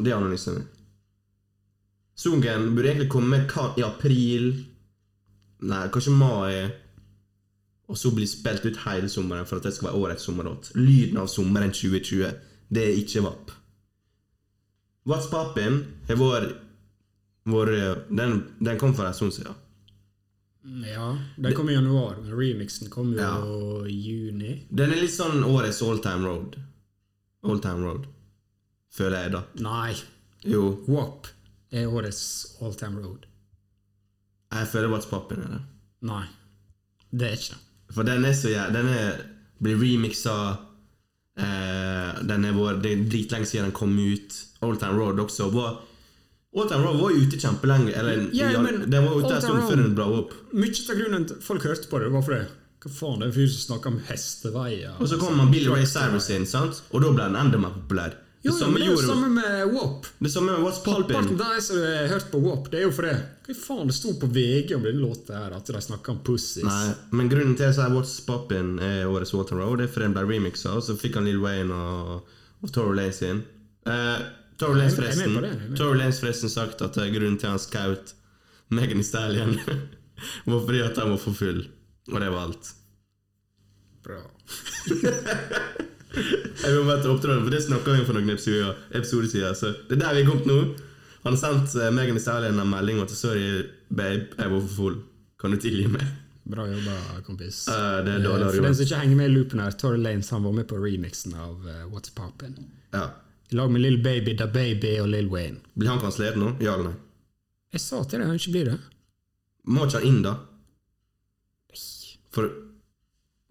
[SPEAKER 1] Det er analysen min. Sungen burde egentlig komme ka- i april Nei, kanskje mai. Og så bli spilt ut hele sommeren for at det skal være årets sommerlåt. Lyden av sommeren 2020. Det er ikke VAP. What's Poppin' har vært vært- den, den kom for en stund siden.
[SPEAKER 2] Ja, den kom i januar, men remixen kom jo
[SPEAKER 1] Ja.
[SPEAKER 2] i juni.
[SPEAKER 1] Den er litt sånn årets all time road. All time road. Føler jeg, da.
[SPEAKER 2] Nei,
[SPEAKER 1] Jo,
[SPEAKER 2] WAP er årets All Time Road.
[SPEAKER 1] jeg føler What's Poppin' er det.
[SPEAKER 2] Nei, det er ikke det.
[SPEAKER 1] For den er så jæ- Den er, blir remixa eh, Den er vår Det er dritlenge siden den kom ut. Old Town Road også var Old Town Road var jo ute kjempelenge. Eller
[SPEAKER 2] Ja,
[SPEAKER 1] ja,
[SPEAKER 2] men
[SPEAKER 1] den var
[SPEAKER 2] Old
[SPEAKER 1] ute en
[SPEAKER 2] Town
[SPEAKER 1] stund
[SPEAKER 2] Road-
[SPEAKER 1] før den bla opp.
[SPEAKER 2] Mye av grunnen til at folk hørte på det, var for det. Hva faen, det er en fyr som snakker om hesteveier.
[SPEAKER 1] Og så kom man Billy Ray Cyrus inn, sant? og da ble den enda mer populær. Det
[SPEAKER 2] Jo, jo,
[SPEAKER 1] samme
[SPEAKER 2] men det er jo
[SPEAKER 1] gjorde
[SPEAKER 2] samme med WAP.
[SPEAKER 1] Det samme med What's
[SPEAKER 2] Halvparten
[SPEAKER 1] Poppin'.
[SPEAKER 2] av de som har hørt på WAP, det er jo for det. Hva faen, det sto på VG om denne låta her, at de snakker om pussies.
[SPEAKER 1] Nei, men grunnen til at jeg sier What's Poppin' er årets Old Town Road, det er fordi den ble remixa, og så fikk han Lil Wayne og, og Tory Lanez inn. Eh, Tory Lanez
[SPEAKER 2] jeg er med
[SPEAKER 1] forresten
[SPEAKER 2] på det, jeg er med på det.
[SPEAKER 1] Tory Lanez forresten sagt at eh, grunnen til han skaut Megan Thee Stallion, var fordi at han var for full. Og det var alt.
[SPEAKER 2] Bra.
[SPEAKER 1] Jeg vil bare ta opptråden, for Det snakka vi om for noen episoder episode siden. Så det er der vi er kommet nå. Han har sendt eh, Megan Thee Stallion en melding om at 'sorry, babe, jeg var for full'. Kan du tilgi meg?
[SPEAKER 2] Bra jobba, kompis.
[SPEAKER 1] Ja, det er dårlig
[SPEAKER 2] Eh, For
[SPEAKER 1] jobba.
[SPEAKER 2] den som ikke henger med i loopen her, Tory Lanez han var med på remixen av eh, What's Poppin'.
[SPEAKER 1] Ja.
[SPEAKER 2] I lag med Lill Baby, Da Baby og Lill Wayne.
[SPEAKER 1] Blir han kansellert nå? Ja eller nei?
[SPEAKER 2] Jeg sa til deg han ikke blir det.
[SPEAKER 1] Må ikke han inn, da? For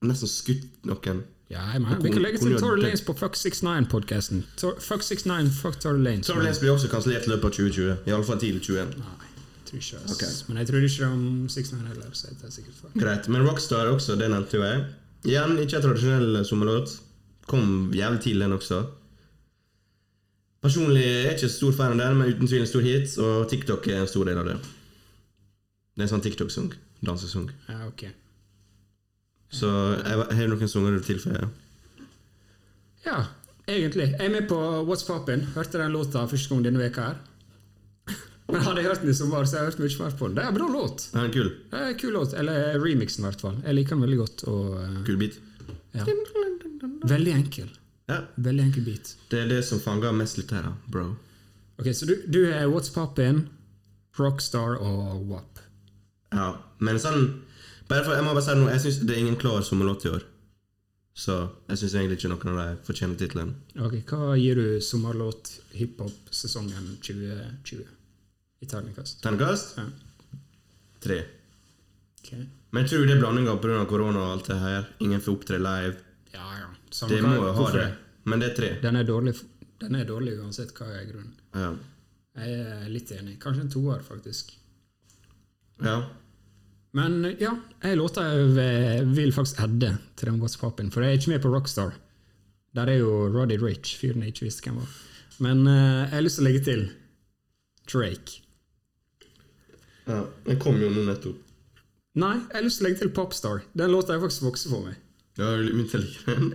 [SPEAKER 1] Nesten skutt noen.
[SPEAKER 2] Ja, jeg mener, Vi
[SPEAKER 1] Kon-
[SPEAKER 2] kan legge til
[SPEAKER 1] kon-
[SPEAKER 2] Tory
[SPEAKER 1] det-
[SPEAKER 2] Lanez på Fuck 69-podkasten. Fuck 69, fuck Tory Lanez.
[SPEAKER 1] Tory Lanez blir også kansellert i løpet av 2020. Iallfall tidlig 21.
[SPEAKER 2] Nei, jeg tror ikke ass. Men jeg tror ikke om 69 heller, så det er sikkert fuck.
[SPEAKER 1] Greit. Men Rockstar også, det nevnte jo jeg. Igjen, ikke en tradisjonell sommerlåt. eh, Kom jævlig tidlig, den også. Personlig er jeg ikke stor fan av den, men uten tvil en stor hit, og TikTok er en stor del av det. Det er en sånn TikTok-sang. Dansesang.
[SPEAKER 2] Ja, ok.
[SPEAKER 1] Så jeg jeg har noen sanger du tilføyer.
[SPEAKER 2] Ja, egentlig. Jeg er med på What's Poppin'. Hørte den låta første gang denne veka her. Men hadde jeg hørt den i sommer, så har jeg hørt mye mer på den. Det er en bra låt.
[SPEAKER 1] Den er en kul.
[SPEAKER 2] Det er en kul låt. Eller remixen, i hvert fall. Jeg liker den veldig godt. Og,
[SPEAKER 1] Kul beat.
[SPEAKER 2] eh, ja. Veldig enkel.
[SPEAKER 1] Ja.
[SPEAKER 2] Veldig enkel beat.
[SPEAKER 1] Det er det som fanger mest lyttere, bro.
[SPEAKER 2] Ok, Så du, du er What's Poppin', Rockstar og WAP.
[SPEAKER 1] Ja. Men sånn bare for, Jeg må bare si det nå, jeg syns det er ingen klar sommerlåt i år. Så jeg syns egentlig ikke noen av dem fortjener tittelen.
[SPEAKER 2] Ok, Hva gir du sommerlåt hiphop-sesongen 2020? I terningkast.
[SPEAKER 1] Terningkast?
[SPEAKER 2] Ja.
[SPEAKER 1] Tre.
[SPEAKER 2] Okay.
[SPEAKER 1] Men jeg tror det er blandinga pga. korona og alt det her. Ingen får opptre live.
[SPEAKER 2] Ja, ja. Samme
[SPEAKER 1] Det
[SPEAKER 2] hva-
[SPEAKER 1] må jo ha
[SPEAKER 2] hvorfor
[SPEAKER 1] det. Men det er tre.
[SPEAKER 2] Den er dårlig, f- den er dårlig uansett hva er grunnen.
[SPEAKER 1] Ja.
[SPEAKER 2] Jeg er litt enig. Kanskje en toer, faktisk.
[SPEAKER 1] ja.
[SPEAKER 2] Men ja, jeg låta jeg v- vil faktisk adde til den What's Poppin', for jeg er ikke med på Rockstar. Der er jo Roddy Rich, fyren jeg ikke visste hvem var. Men eh, jeg har lyst til å legge til Drake.
[SPEAKER 1] ja. Den kom jo nå nettopp.
[SPEAKER 2] Nei, jeg har lyst til å legge til Popstar. Den låta har faktisk vokst for meg.
[SPEAKER 1] Ja, jeg begynte å like den.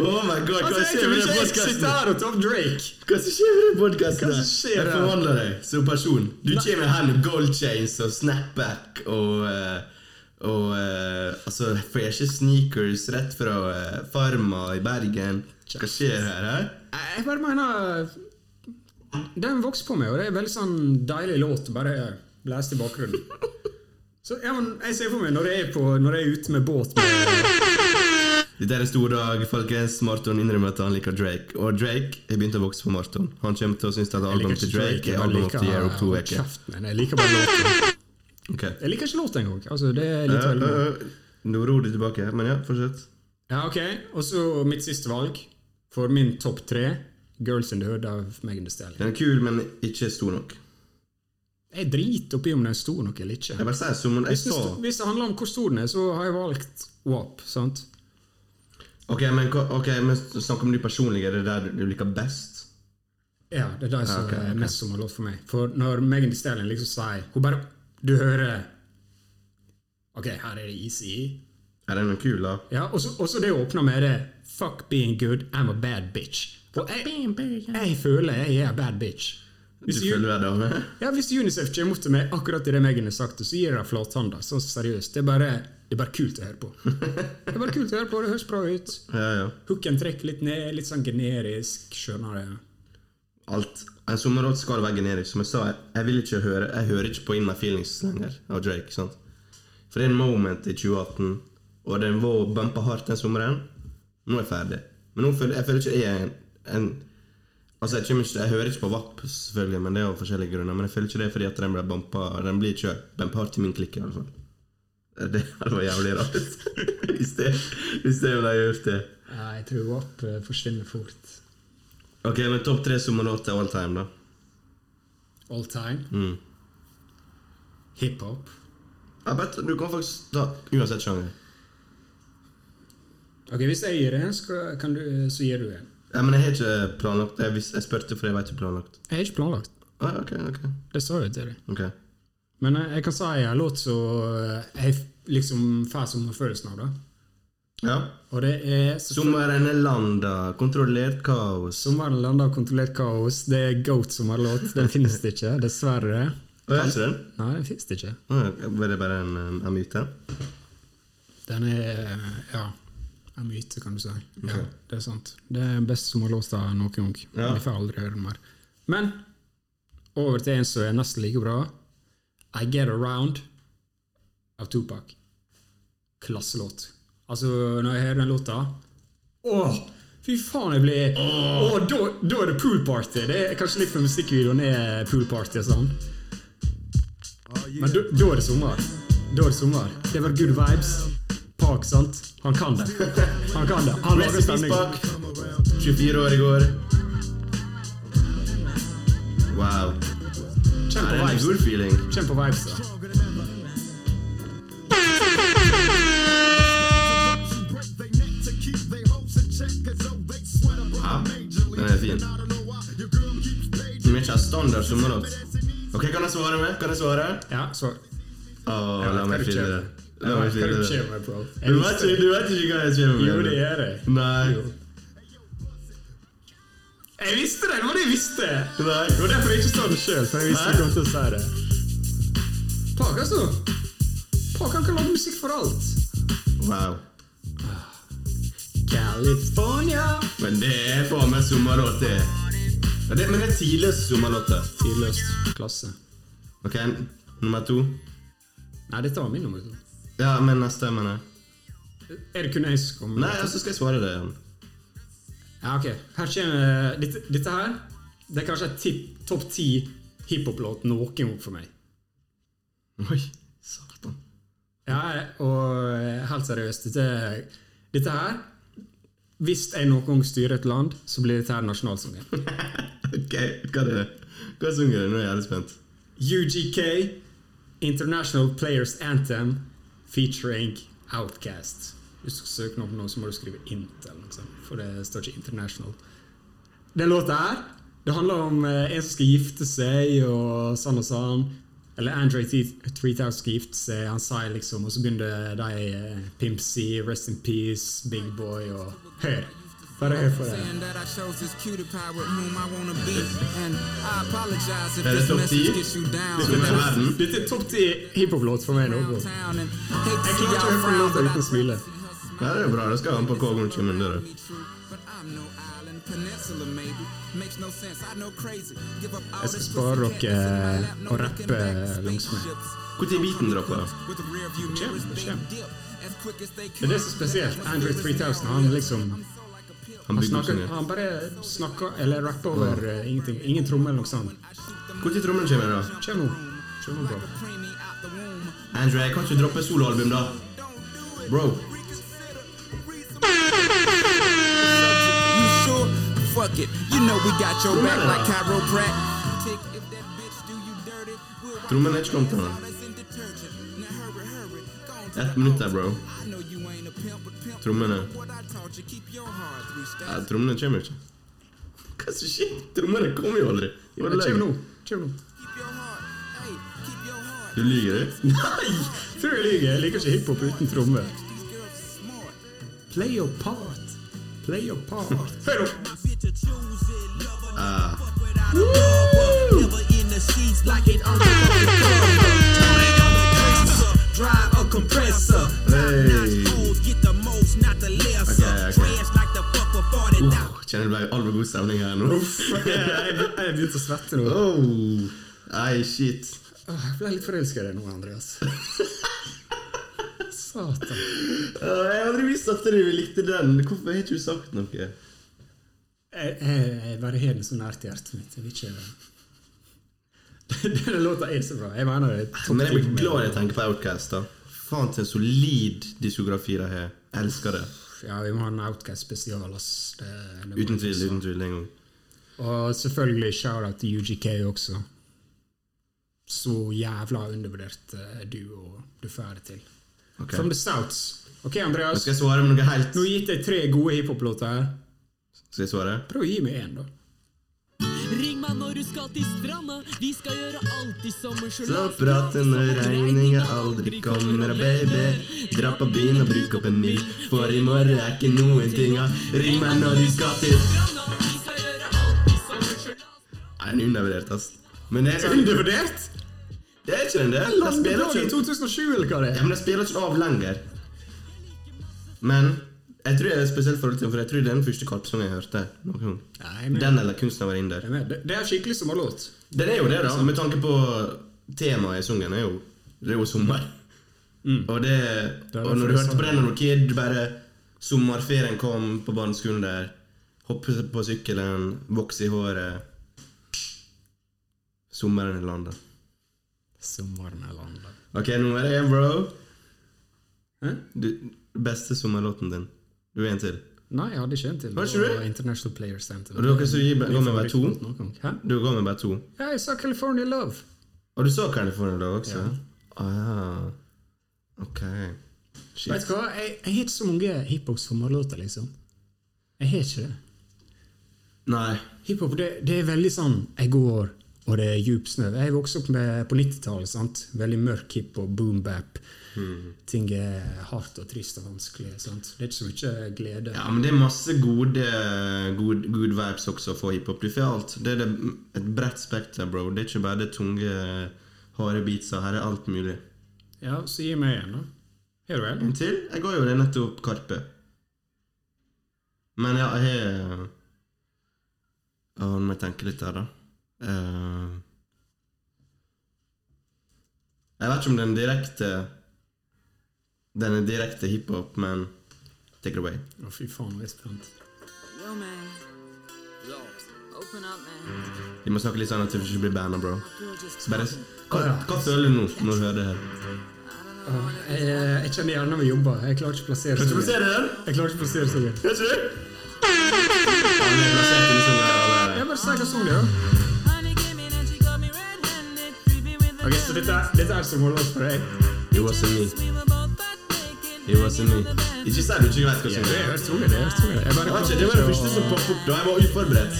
[SPEAKER 1] Oh my god, hva
[SPEAKER 2] Altså, jeg
[SPEAKER 1] skjer
[SPEAKER 2] kunne
[SPEAKER 1] med den
[SPEAKER 2] ikke jeg sitte
[SPEAKER 1] podkasten?
[SPEAKER 2] her og ta opp Drake!
[SPEAKER 1] Hva som skjer med den podkasten?
[SPEAKER 2] Hva som skjer
[SPEAKER 1] Jeg
[SPEAKER 2] her?
[SPEAKER 1] forvandler deg som person. Du kommer her med gold chains og snapback og eh, og eh, altså freshe sneakers rett fra eh, Farma i Bergen. Hva skjer her? her?
[SPEAKER 2] Jeg bare mener Den vokser på meg, og det er en veldig sånn deilig låt. Bare blæs til bakgrunnen. Så ja, men Jeg ser for meg når jeg er, på, når jeg er ute med båt med,
[SPEAKER 1] Dette er en stor dag, folkens. Marton innrømmer at han liker Drake. Og Drake har begynt å vokse for Marton. Han kommer til å synes at
[SPEAKER 2] Jeg liker
[SPEAKER 1] albumet til
[SPEAKER 2] ikke
[SPEAKER 1] Drake er
[SPEAKER 2] jeg
[SPEAKER 1] album of
[SPEAKER 2] liker-
[SPEAKER 1] the year om to
[SPEAKER 2] hold
[SPEAKER 1] uker.
[SPEAKER 2] kjeften, men Jeg liker bare låten.
[SPEAKER 1] Ok.
[SPEAKER 2] Jeg liker ikke låten engang. Altså, det er
[SPEAKER 1] Eh,
[SPEAKER 2] litt veldig
[SPEAKER 1] eh, eh, Nå ror du tilbake, her, men ja, fortsett.
[SPEAKER 2] Ja, ok. Og så mitt siste valg for min topp tre. Girls in the Hood av Megan Thee Stallion.
[SPEAKER 1] Den er kul, men ikke stor nok.
[SPEAKER 2] Jeg driter oppi om den er stor nok eller ikke.
[SPEAKER 1] Jeg bare sier som jeg
[SPEAKER 2] Hvis det,
[SPEAKER 1] så
[SPEAKER 2] sto- hvis det handler om hvor stor den er, så har jeg valgt WAP. sant?
[SPEAKER 1] Ok, men, hva- ok, men snakk om du personlig. Er det der du- du liker best?
[SPEAKER 2] Ja, det er det som
[SPEAKER 1] ok,
[SPEAKER 2] er
[SPEAKER 1] ok.
[SPEAKER 2] mest som har låt for meg. For når Megan Thee Stallion liksom sier Hun bare Du hører Ok, her er det easy.
[SPEAKER 1] Er den kul, da?
[SPEAKER 2] Ja, og så- og så det åpner med det Fuck being good, I'm a bad bitch. For jeg, jeg føler jeg er a bad bitch.
[SPEAKER 1] Du
[SPEAKER 2] Hvis,
[SPEAKER 1] følger deg,
[SPEAKER 2] U-
[SPEAKER 1] dame?
[SPEAKER 2] ja, hvis UNICEF kommer opp til meg akkurat i det Megan har sagt, så gir jeg flathanda. Sånn seriøst. Det er bare, det er bare kult å høre på. Det er bare kult å høre på, det høres bra ut.
[SPEAKER 1] Ja, ja.
[SPEAKER 2] Hooken trekker litt ned, litt sånn generisk. Skjønner det.
[SPEAKER 1] Alt. En sommerlåt skal være generisk. Som jeg sa, jeg, jeg vil ikke høre Jeg hører ikke på In My Feelings lenger av Drake. sant? For det er en moment i 2018, og den var bumpa hardt den sommeren. Nå er jeg ferdig. Men nå føler jeg føler ikke jeg er en, en Altså, jeg, kommer ikke, jeg hører ikke på WAP, selvfølgelig, men det er av forskjellige grunner. Men jeg føler ikke det er fordi at den ble bumpa Den blir ikke bumpa hardt i min klikk, i hvert fall. Det hadde vært jævlig rart hvis det hvis det ble gjort, det.
[SPEAKER 2] Nei, jeg tror WAP eh, forsvinner fort.
[SPEAKER 1] Ok, men topp tre sommerlåter all time, da?
[SPEAKER 2] All time.
[SPEAKER 1] Mm.
[SPEAKER 2] Hiphop.
[SPEAKER 1] Jeg vet, du kan faktisk ta uansett sjanger.
[SPEAKER 2] Ok, Hvis jeg gir en, skal, kan du, eh, så gir du en.
[SPEAKER 1] Ja, men jeg har ikke planlagt. Jeg, vis- jeg spurte, for jeg vet ikke planlagt.
[SPEAKER 2] Jeg har ikke planlagt.
[SPEAKER 1] Ah, ok, ok.
[SPEAKER 2] Det sa jeg til deg.
[SPEAKER 1] ok.
[SPEAKER 2] Men eh, jeg kan si en låt som jeg f- liksom får sommerfølelsen av. da.
[SPEAKER 1] Ja.
[SPEAKER 2] Og det er
[SPEAKER 1] Sommeren er landa, kontrollert kaos.
[SPEAKER 2] Sommeren lander av kontrollert kaos. Det er Goat som har låt. Den finnes det ikke, dessverre.
[SPEAKER 1] Å, er ikke den?
[SPEAKER 2] Nei, den finnes det ikke.
[SPEAKER 1] Å, ja, Var det bare en, um, en myte?
[SPEAKER 2] Den er eh, ja, en myte, kan du si. Ja, Det er sant. Det er den beste sommerlåta noen gang.
[SPEAKER 1] Ja.
[SPEAKER 2] Vi får aldri høre den mer. Men over til en som er nesten like bra. I Get Around av Tupac. klasselåt. Altså, når jeg hører den låta Åh! Fy faen, jeg blir Åh, da, da er det pool party! Det er kanskje litt for musikkvideoen er pool party og sånn.
[SPEAKER 1] Ah,
[SPEAKER 2] Men da da er det sommer. Da er det sommer. Det var good vibes. Park, sant? Han kan det. Han kan det. Han lager
[SPEAKER 1] Rest in peace,
[SPEAKER 2] stemning.
[SPEAKER 1] Park. 24 år i går. Wow.
[SPEAKER 2] Kjenn
[SPEAKER 1] Det er
[SPEAKER 2] på
[SPEAKER 1] en
[SPEAKER 2] vibes.
[SPEAKER 1] god feeling.
[SPEAKER 2] Kjenn på vibes, da.
[SPEAKER 1] Ja, den er fin. Men ikke en standard sommerlåt. Ok, kan jeg svare med? Kan jeg svare?
[SPEAKER 2] Ja, så
[SPEAKER 1] Åh, la
[SPEAKER 2] Jeg vet hva
[SPEAKER 1] meg
[SPEAKER 2] du
[SPEAKER 1] finne
[SPEAKER 2] kjenner.
[SPEAKER 1] det. La
[SPEAKER 2] Jeg
[SPEAKER 1] meg
[SPEAKER 2] vet hva
[SPEAKER 1] finne
[SPEAKER 2] du
[SPEAKER 1] det.
[SPEAKER 2] kjenner, bro.
[SPEAKER 1] Du vet ikke, du vet ikke hva jeg kommer med?
[SPEAKER 2] Jo, det gjør jeg.
[SPEAKER 1] Nei.
[SPEAKER 2] Jo. Jeg visste det! Det var det jeg visste! Det
[SPEAKER 1] Nei.
[SPEAKER 2] var derfor jeg ikke sa det sjøl, for jeg visste
[SPEAKER 1] Hæ?
[SPEAKER 2] du kom til å si det. Pak, altså. Pak han kan lage musikk for alt.
[SPEAKER 1] Wow.
[SPEAKER 2] California.
[SPEAKER 1] Men det er faen meg sommerlåt, det. Ja, det. Men det er tidligste sommerlåter.
[SPEAKER 2] Tidløst. Klasse.
[SPEAKER 1] Ok, nummer to.
[SPEAKER 2] Nei, dette var min nummer to.
[SPEAKER 1] Ja, men neste, mener jeg.
[SPEAKER 2] Er det kun jeg som kommer?
[SPEAKER 1] Nei, altså- ja, så skal jeg svare det. igjen.
[SPEAKER 2] Ja, ok. Her kommer eh, dette, dette her. Det er kanskje et tipp- topp ti hiphop-låt noen gang for meg.
[SPEAKER 1] Oi, satan.
[SPEAKER 2] Ja, og eh, helt seriøst, dette, dette her Hvis jeg noen gang styrer et land, så blir dette her nasjonalsangen.
[SPEAKER 1] Ok, hva er det? Hva synger du? Nå er jeg jævlig spent.
[SPEAKER 2] UGK, International Players Anthem, featuring Outcast. Hvis du skal søke noe på noe, så må du skrive Intel, liksom, for det står ikke International. Den låta her, det handler om eh, en som skal gifte seg, og sånn og sånn. Eller Andre 3000 skal gifte seg, han sier liksom, og så begynner de eh, Pimp C, Rest in Peace, Big Boy og Hør! Bare hør på det.
[SPEAKER 6] Saying that I chose this cutie pie with whom I wanna be. And I apologize if
[SPEAKER 1] Er det
[SPEAKER 6] this
[SPEAKER 1] topp ti?
[SPEAKER 6] message gets you down.
[SPEAKER 1] Som er verden.
[SPEAKER 2] Dette er topp ti hiphop-låt for meg nå. bro.
[SPEAKER 6] Downtown and hate to
[SPEAKER 2] Jeg
[SPEAKER 6] see
[SPEAKER 2] klarer ikke å
[SPEAKER 6] y'all
[SPEAKER 2] høre på den
[SPEAKER 6] frown,
[SPEAKER 2] låta
[SPEAKER 6] but I
[SPEAKER 2] uten å smile.
[SPEAKER 1] Ja, det er bra. Da skal han på Kågon komme inn døra.
[SPEAKER 6] me true. But I'm no island, peninsula maybe. Makes no sense, I know crazy. Give up all
[SPEAKER 2] Jeg skal
[SPEAKER 6] this
[SPEAKER 2] spare
[SPEAKER 6] pussy
[SPEAKER 2] dere
[SPEAKER 6] cat in my lap, no
[SPEAKER 2] og rappe
[SPEAKER 6] looking back,
[SPEAKER 2] langs med.
[SPEAKER 6] spaceships.
[SPEAKER 1] Når beaten dropper?
[SPEAKER 6] With the rear view
[SPEAKER 2] Kjem,
[SPEAKER 6] mirrors, they
[SPEAKER 2] kjem.
[SPEAKER 6] dip as quick as they
[SPEAKER 2] Det er det som
[SPEAKER 6] can.
[SPEAKER 2] er spesielt. Andrew 3000, han liksom
[SPEAKER 1] Han
[SPEAKER 2] han,
[SPEAKER 1] bygger opp
[SPEAKER 2] snakker,
[SPEAKER 1] sin
[SPEAKER 2] han bare snakker eller rapper over eh, ingenting. Ingen tromme eller noe sånt.
[SPEAKER 1] Når trommen kommer inn, da?
[SPEAKER 2] Kjem nå. Kjem nå, bro.
[SPEAKER 6] Preemie out the womb.
[SPEAKER 1] Andrew, jeg kan ikke droppe soloalbum, da. Bro.
[SPEAKER 6] You sure? Fuck it. You know we got your back like chiropractic. Tick, if that bitch do you dirty, we'll wipe
[SPEAKER 1] Trommen er ikke kommet til han.
[SPEAKER 6] that's in detergent. Now hurry, hurry. Go on to
[SPEAKER 1] Ett
[SPEAKER 6] the
[SPEAKER 1] minutt
[SPEAKER 6] altar.
[SPEAKER 1] der, bro.
[SPEAKER 6] I know you ain't a pimp, but pimp.
[SPEAKER 1] Trommene.
[SPEAKER 6] What I taught you, keep your heart three
[SPEAKER 1] Ja,
[SPEAKER 6] stacks.
[SPEAKER 1] trommene kommer ikke. Hva som skjer? Trommene kommer jo aldri. Hva er det
[SPEAKER 2] Kjem nå.
[SPEAKER 1] lenge?
[SPEAKER 2] Kjem nå.
[SPEAKER 6] Keep your heart. Hey, keep your heart.
[SPEAKER 1] Du lyver, du.
[SPEAKER 2] Nei! Tror jeg lyver. Jeg liker ikke hiphop uten tromme.
[SPEAKER 6] These girls are smart.
[SPEAKER 2] Play your part. Play your part. Hør nå.
[SPEAKER 7] bitch to choose it. Love or
[SPEAKER 1] Ah.
[SPEAKER 7] fuck without a rubber. Never in the sheets like it on the fucking cover. Turn on the gangster, drive a compressor. Top
[SPEAKER 1] Hey.
[SPEAKER 7] notch hoes get the most, not the lesser.
[SPEAKER 1] Okay, okay.
[SPEAKER 7] Trash like the fuck with 40 dollars.
[SPEAKER 1] Åh, Kjenner det ble altfor god stemning her nå.
[SPEAKER 2] Jeg jeg begynte å svette nå.
[SPEAKER 1] Oh. Ei, shit.
[SPEAKER 2] Åh, Jeg ble litt forelska i deg nå, Andreas.
[SPEAKER 1] Åh,
[SPEAKER 2] Satan.
[SPEAKER 1] Jeg har aldri visst at du likte den. Hvorfor har ikke du sagt noe?
[SPEAKER 2] Jeg, jeg, jeg bare har den så nært hjertet mitt. Jeg vil ikke Denne låta er så bra. Jeg mener det. er topp
[SPEAKER 1] Men jeg blir
[SPEAKER 2] ti med-
[SPEAKER 1] glad når jeg tenker på Outcast. da. Faen til en solid diskografi de har. Elsker det.
[SPEAKER 2] Ja, vi må ha en Outcast spesial. ass. Det, det må
[SPEAKER 1] Uten
[SPEAKER 2] vi
[SPEAKER 1] tvil.
[SPEAKER 2] også.
[SPEAKER 1] uten tvil en gang.
[SPEAKER 2] Og selvfølgelig shout-out til UGK også. Så jævla undervurdert eh, du og du får det til.
[SPEAKER 1] Ok.
[SPEAKER 2] From the Souths. Ok,
[SPEAKER 1] Nå
[SPEAKER 2] Andreas.
[SPEAKER 1] skal jeg svare med noe helt
[SPEAKER 2] Nå har jeg gitt deg tre gode hiphop-låter her.
[SPEAKER 1] Skal jeg svare?
[SPEAKER 2] Prøv å gi meg én, da.
[SPEAKER 8] Ring meg når du skal til stranda. Vi skal gjøre alt i sommer. Så
[SPEAKER 1] Slapp praten når regninga aldri kommer, baby. Dra på byen og bruk opp en mil, for i morgen er ikke noen tinga. Ring meg når du skal til Nei, den er undervurdert, ass. Men det er sånn
[SPEAKER 2] Undervurdert?
[SPEAKER 1] Det er ikke den, det. De spiller
[SPEAKER 2] Landeplaget i
[SPEAKER 1] ikke,
[SPEAKER 2] 2007, eller hva det
[SPEAKER 1] ja,
[SPEAKER 2] er?
[SPEAKER 1] men de spiller ikke av lenger. Men jeg tror jeg er spesielt forhold til den, for jeg tror det er den første karpsangen jeg hørte. noen gang.
[SPEAKER 2] Nei, men-
[SPEAKER 1] Den eller kunstner var inn der.
[SPEAKER 2] Jeg mener, Det det er skikkelig sommerlåt. Liksom.
[SPEAKER 1] Den er jo det, da. Med tanke på temaet i sangen er jo Det er jo sommer. Og, det,
[SPEAKER 2] er
[SPEAKER 1] og
[SPEAKER 2] derfor
[SPEAKER 1] når
[SPEAKER 2] Mm. det
[SPEAKER 1] du
[SPEAKER 2] er
[SPEAKER 1] hørte
[SPEAKER 2] sånn.
[SPEAKER 1] på det når du var kid, bare sommerferien kom på barneskolen der, hoppe på sykkelen, vokse i håret Sommeren i landet.
[SPEAKER 2] Sommeren er landa.
[SPEAKER 1] Ok, nå er det en, bro.
[SPEAKER 2] Hæ?
[SPEAKER 1] Du, beste sommerlåten din. Du er en til.
[SPEAKER 2] Nei, jeg hadde ikke en til.
[SPEAKER 1] Var det ikke det?
[SPEAKER 2] var International Player Anthem.
[SPEAKER 1] Og dere som gir meg- ga meg bare to?
[SPEAKER 2] Min favoritt noen gang. Hæ?
[SPEAKER 1] Du ga meg bare to.
[SPEAKER 2] Ja, jeg sa California Love.
[SPEAKER 1] Og du så California da også? Ah, ja. Ok.
[SPEAKER 2] Vet du hva? Jeg, jeg har ikke så mange hiphop-sommerlåter, liksom. Jeg har ikke det.
[SPEAKER 1] Nei.
[SPEAKER 2] Hiphop det, det er veldig sånn Jeg går, og det er djup snø. Jeg vokste opp med, på 90-tallet. sant? Veldig mørk hiphop, boom bap. Ting er hardt og trist og vanskelig. sant? Det er ikke så mye glede.
[SPEAKER 1] Ja, men det er masse gode good, good vibes også for hiphop. Du får alt. Det er det, et bredt spekter, bro. Det er ikke bare det tunge, harde beatsa. Her er alt mulig.
[SPEAKER 2] Ja, så gi meg en, da. Har du en?
[SPEAKER 1] En til? Jeg ga jo det nettopp Karpe. Men ja, jeg har Ja, Nå må jeg tenke litt her, da. Eh, Jeg vet ikke om den direkte Den er direkte hiphop, men take it away.
[SPEAKER 2] Å, fy faen, jeg er spent.
[SPEAKER 9] Yo, man. Open up, man.
[SPEAKER 1] Vi må snakke litt sånn at du ikke blir banna, bro.
[SPEAKER 9] Girl, just
[SPEAKER 1] Bare,
[SPEAKER 9] talking.
[SPEAKER 1] hva, hva føler du nå når du hører det her?
[SPEAKER 2] Jeg, jeg kjenner hjernen min jobber. Jeg klarer ikke å plassere
[SPEAKER 1] Skal vi se det her?
[SPEAKER 2] Jeg klarer ikke å plassere sangen.
[SPEAKER 1] Gjør ikke du? Ja, det er basert på liksom, ja, det er-
[SPEAKER 2] Jeg bare sier hva sangen er. da.
[SPEAKER 9] Honey came in and she got me red-handed, creepy with a
[SPEAKER 2] Ok, så dette, dette er sommerlåt for deg.
[SPEAKER 1] It wasn't me.
[SPEAKER 9] We were both butt naked,
[SPEAKER 1] It wasn't me.
[SPEAKER 9] banging on the bed.
[SPEAKER 1] Ikke si at du ikke vet hva som
[SPEAKER 2] Jeg
[SPEAKER 1] er.
[SPEAKER 2] har hørt sangen. Jeg har hørt sangen. Jeg bare
[SPEAKER 1] Jeg vet ikke, Det var det første som poppet opp da. Jeg var uforberedt.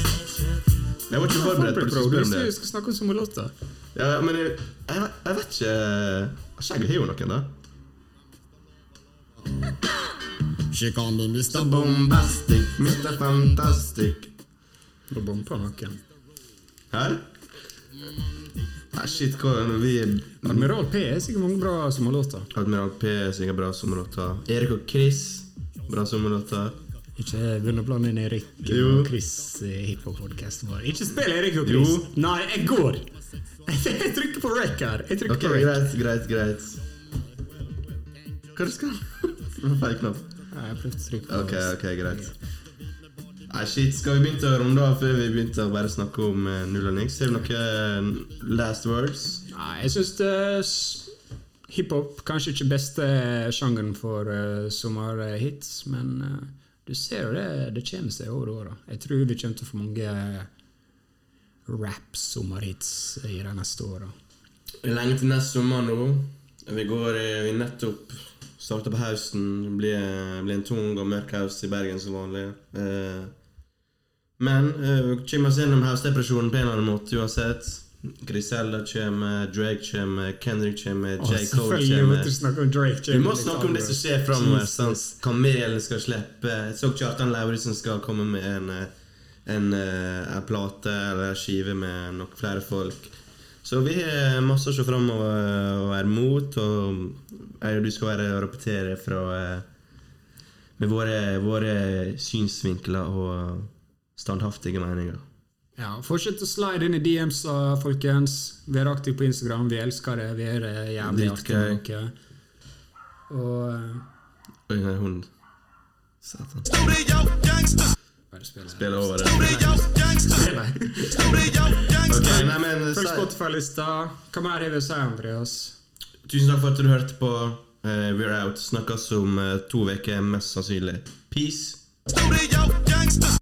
[SPEAKER 1] Jeg var ikke forberedt på at du altså.
[SPEAKER 2] Bro,
[SPEAKER 1] skulle spørre om
[SPEAKER 2] hvis
[SPEAKER 1] det.
[SPEAKER 2] du skal snakke om sommerlåter
[SPEAKER 1] Ja, men jeg, jeg, vet- jeg vet ikke Skjegget har jo noen, da.
[SPEAKER 5] She call me Mr.
[SPEAKER 1] Bombastic, Mr. Fantastic.
[SPEAKER 2] Nå bomper noen.
[SPEAKER 1] Her? Nei, shit, hva er det vi
[SPEAKER 2] Admiral P er sikkert mange bra sommerlåter.
[SPEAKER 1] Admiral P synger bra sommerlåter. Erik og Chris, bra sommerlåter.
[SPEAKER 2] Ikke begynn å blande inn Erik
[SPEAKER 1] Jo.
[SPEAKER 2] og Chris i hiphop-podkasten vår. Ikke spill Erik og Chris!
[SPEAKER 1] Jo.
[SPEAKER 2] Nei, jeg går! Jeg trykker på rec her. Jeg trykker
[SPEAKER 1] Ok,
[SPEAKER 2] på rec.
[SPEAKER 1] greit, greit, greit. Hva er det skal Feil knapp.
[SPEAKER 2] Nei, jeg prøvde å trykke på
[SPEAKER 1] Ok, ok, greit. Nei, shit, skal vi begynne å runde av før vi begynte å bare snakke om eh, null og niks? Har vi noen last words?
[SPEAKER 2] Nei, jeg syns uh, hiphop kanskje ikke beste sjangeren for eh, sommerhits, men eh, du ser jo det, det kommer seg over åra. Jeg tror vi kommer til å få mange eh, rap-sommerhits eh, i de neste åra.
[SPEAKER 1] Det er lenge til neste sommer nå. Vi går eh, vi nettopp starter på høsten. Det blir, det blir en tung og mørk høst i Bergen som vanlig. Eh, men eh, vi kommer oss gjennom høstdepresjonen på en eller annen måte uansett. Griselda kommer, Drake kommer, Kendrick kommer, J. Cole
[SPEAKER 2] selvfølgelig
[SPEAKER 1] kommer.
[SPEAKER 2] måtte du snakke om Drake.
[SPEAKER 1] Vi må
[SPEAKER 2] Litt
[SPEAKER 1] snakke om det som
[SPEAKER 2] annerledes.
[SPEAKER 1] skjer framover. sant? Kamelen skal slippe. Jeg så Kjartan Lauritzen skal komme med en, eh, en, eh, en plate eller skive med nok flere folk. Så vi har masse å se framover mot, og jeg og du skal være og rapportere fra eh, med våre, våre synsvinkler og standhaftige meninger.
[SPEAKER 2] Ja, Fortsett å slide inn i DMs-a, folkens. Vær aktiv på Instagram. Vi elsker det. Vi er eh, jævlig artige med dere. Og eh,
[SPEAKER 1] Oi, her er hunden. Satan.
[SPEAKER 3] Studio gangsters.
[SPEAKER 2] bare spille.
[SPEAKER 1] Spiller over det.
[SPEAKER 3] Studio gangsters. Studio gangsters.
[SPEAKER 1] Ok, nei, men,
[SPEAKER 2] Følg
[SPEAKER 1] si-
[SPEAKER 2] Spotify-lista. Hva mer er det vi sier, Andreas?
[SPEAKER 1] Tusen takk for at du hørte på eh, We're Out. Snakkes om eh, to uker, mest sannsynlig. Peace.
[SPEAKER 3] Studio gangsters.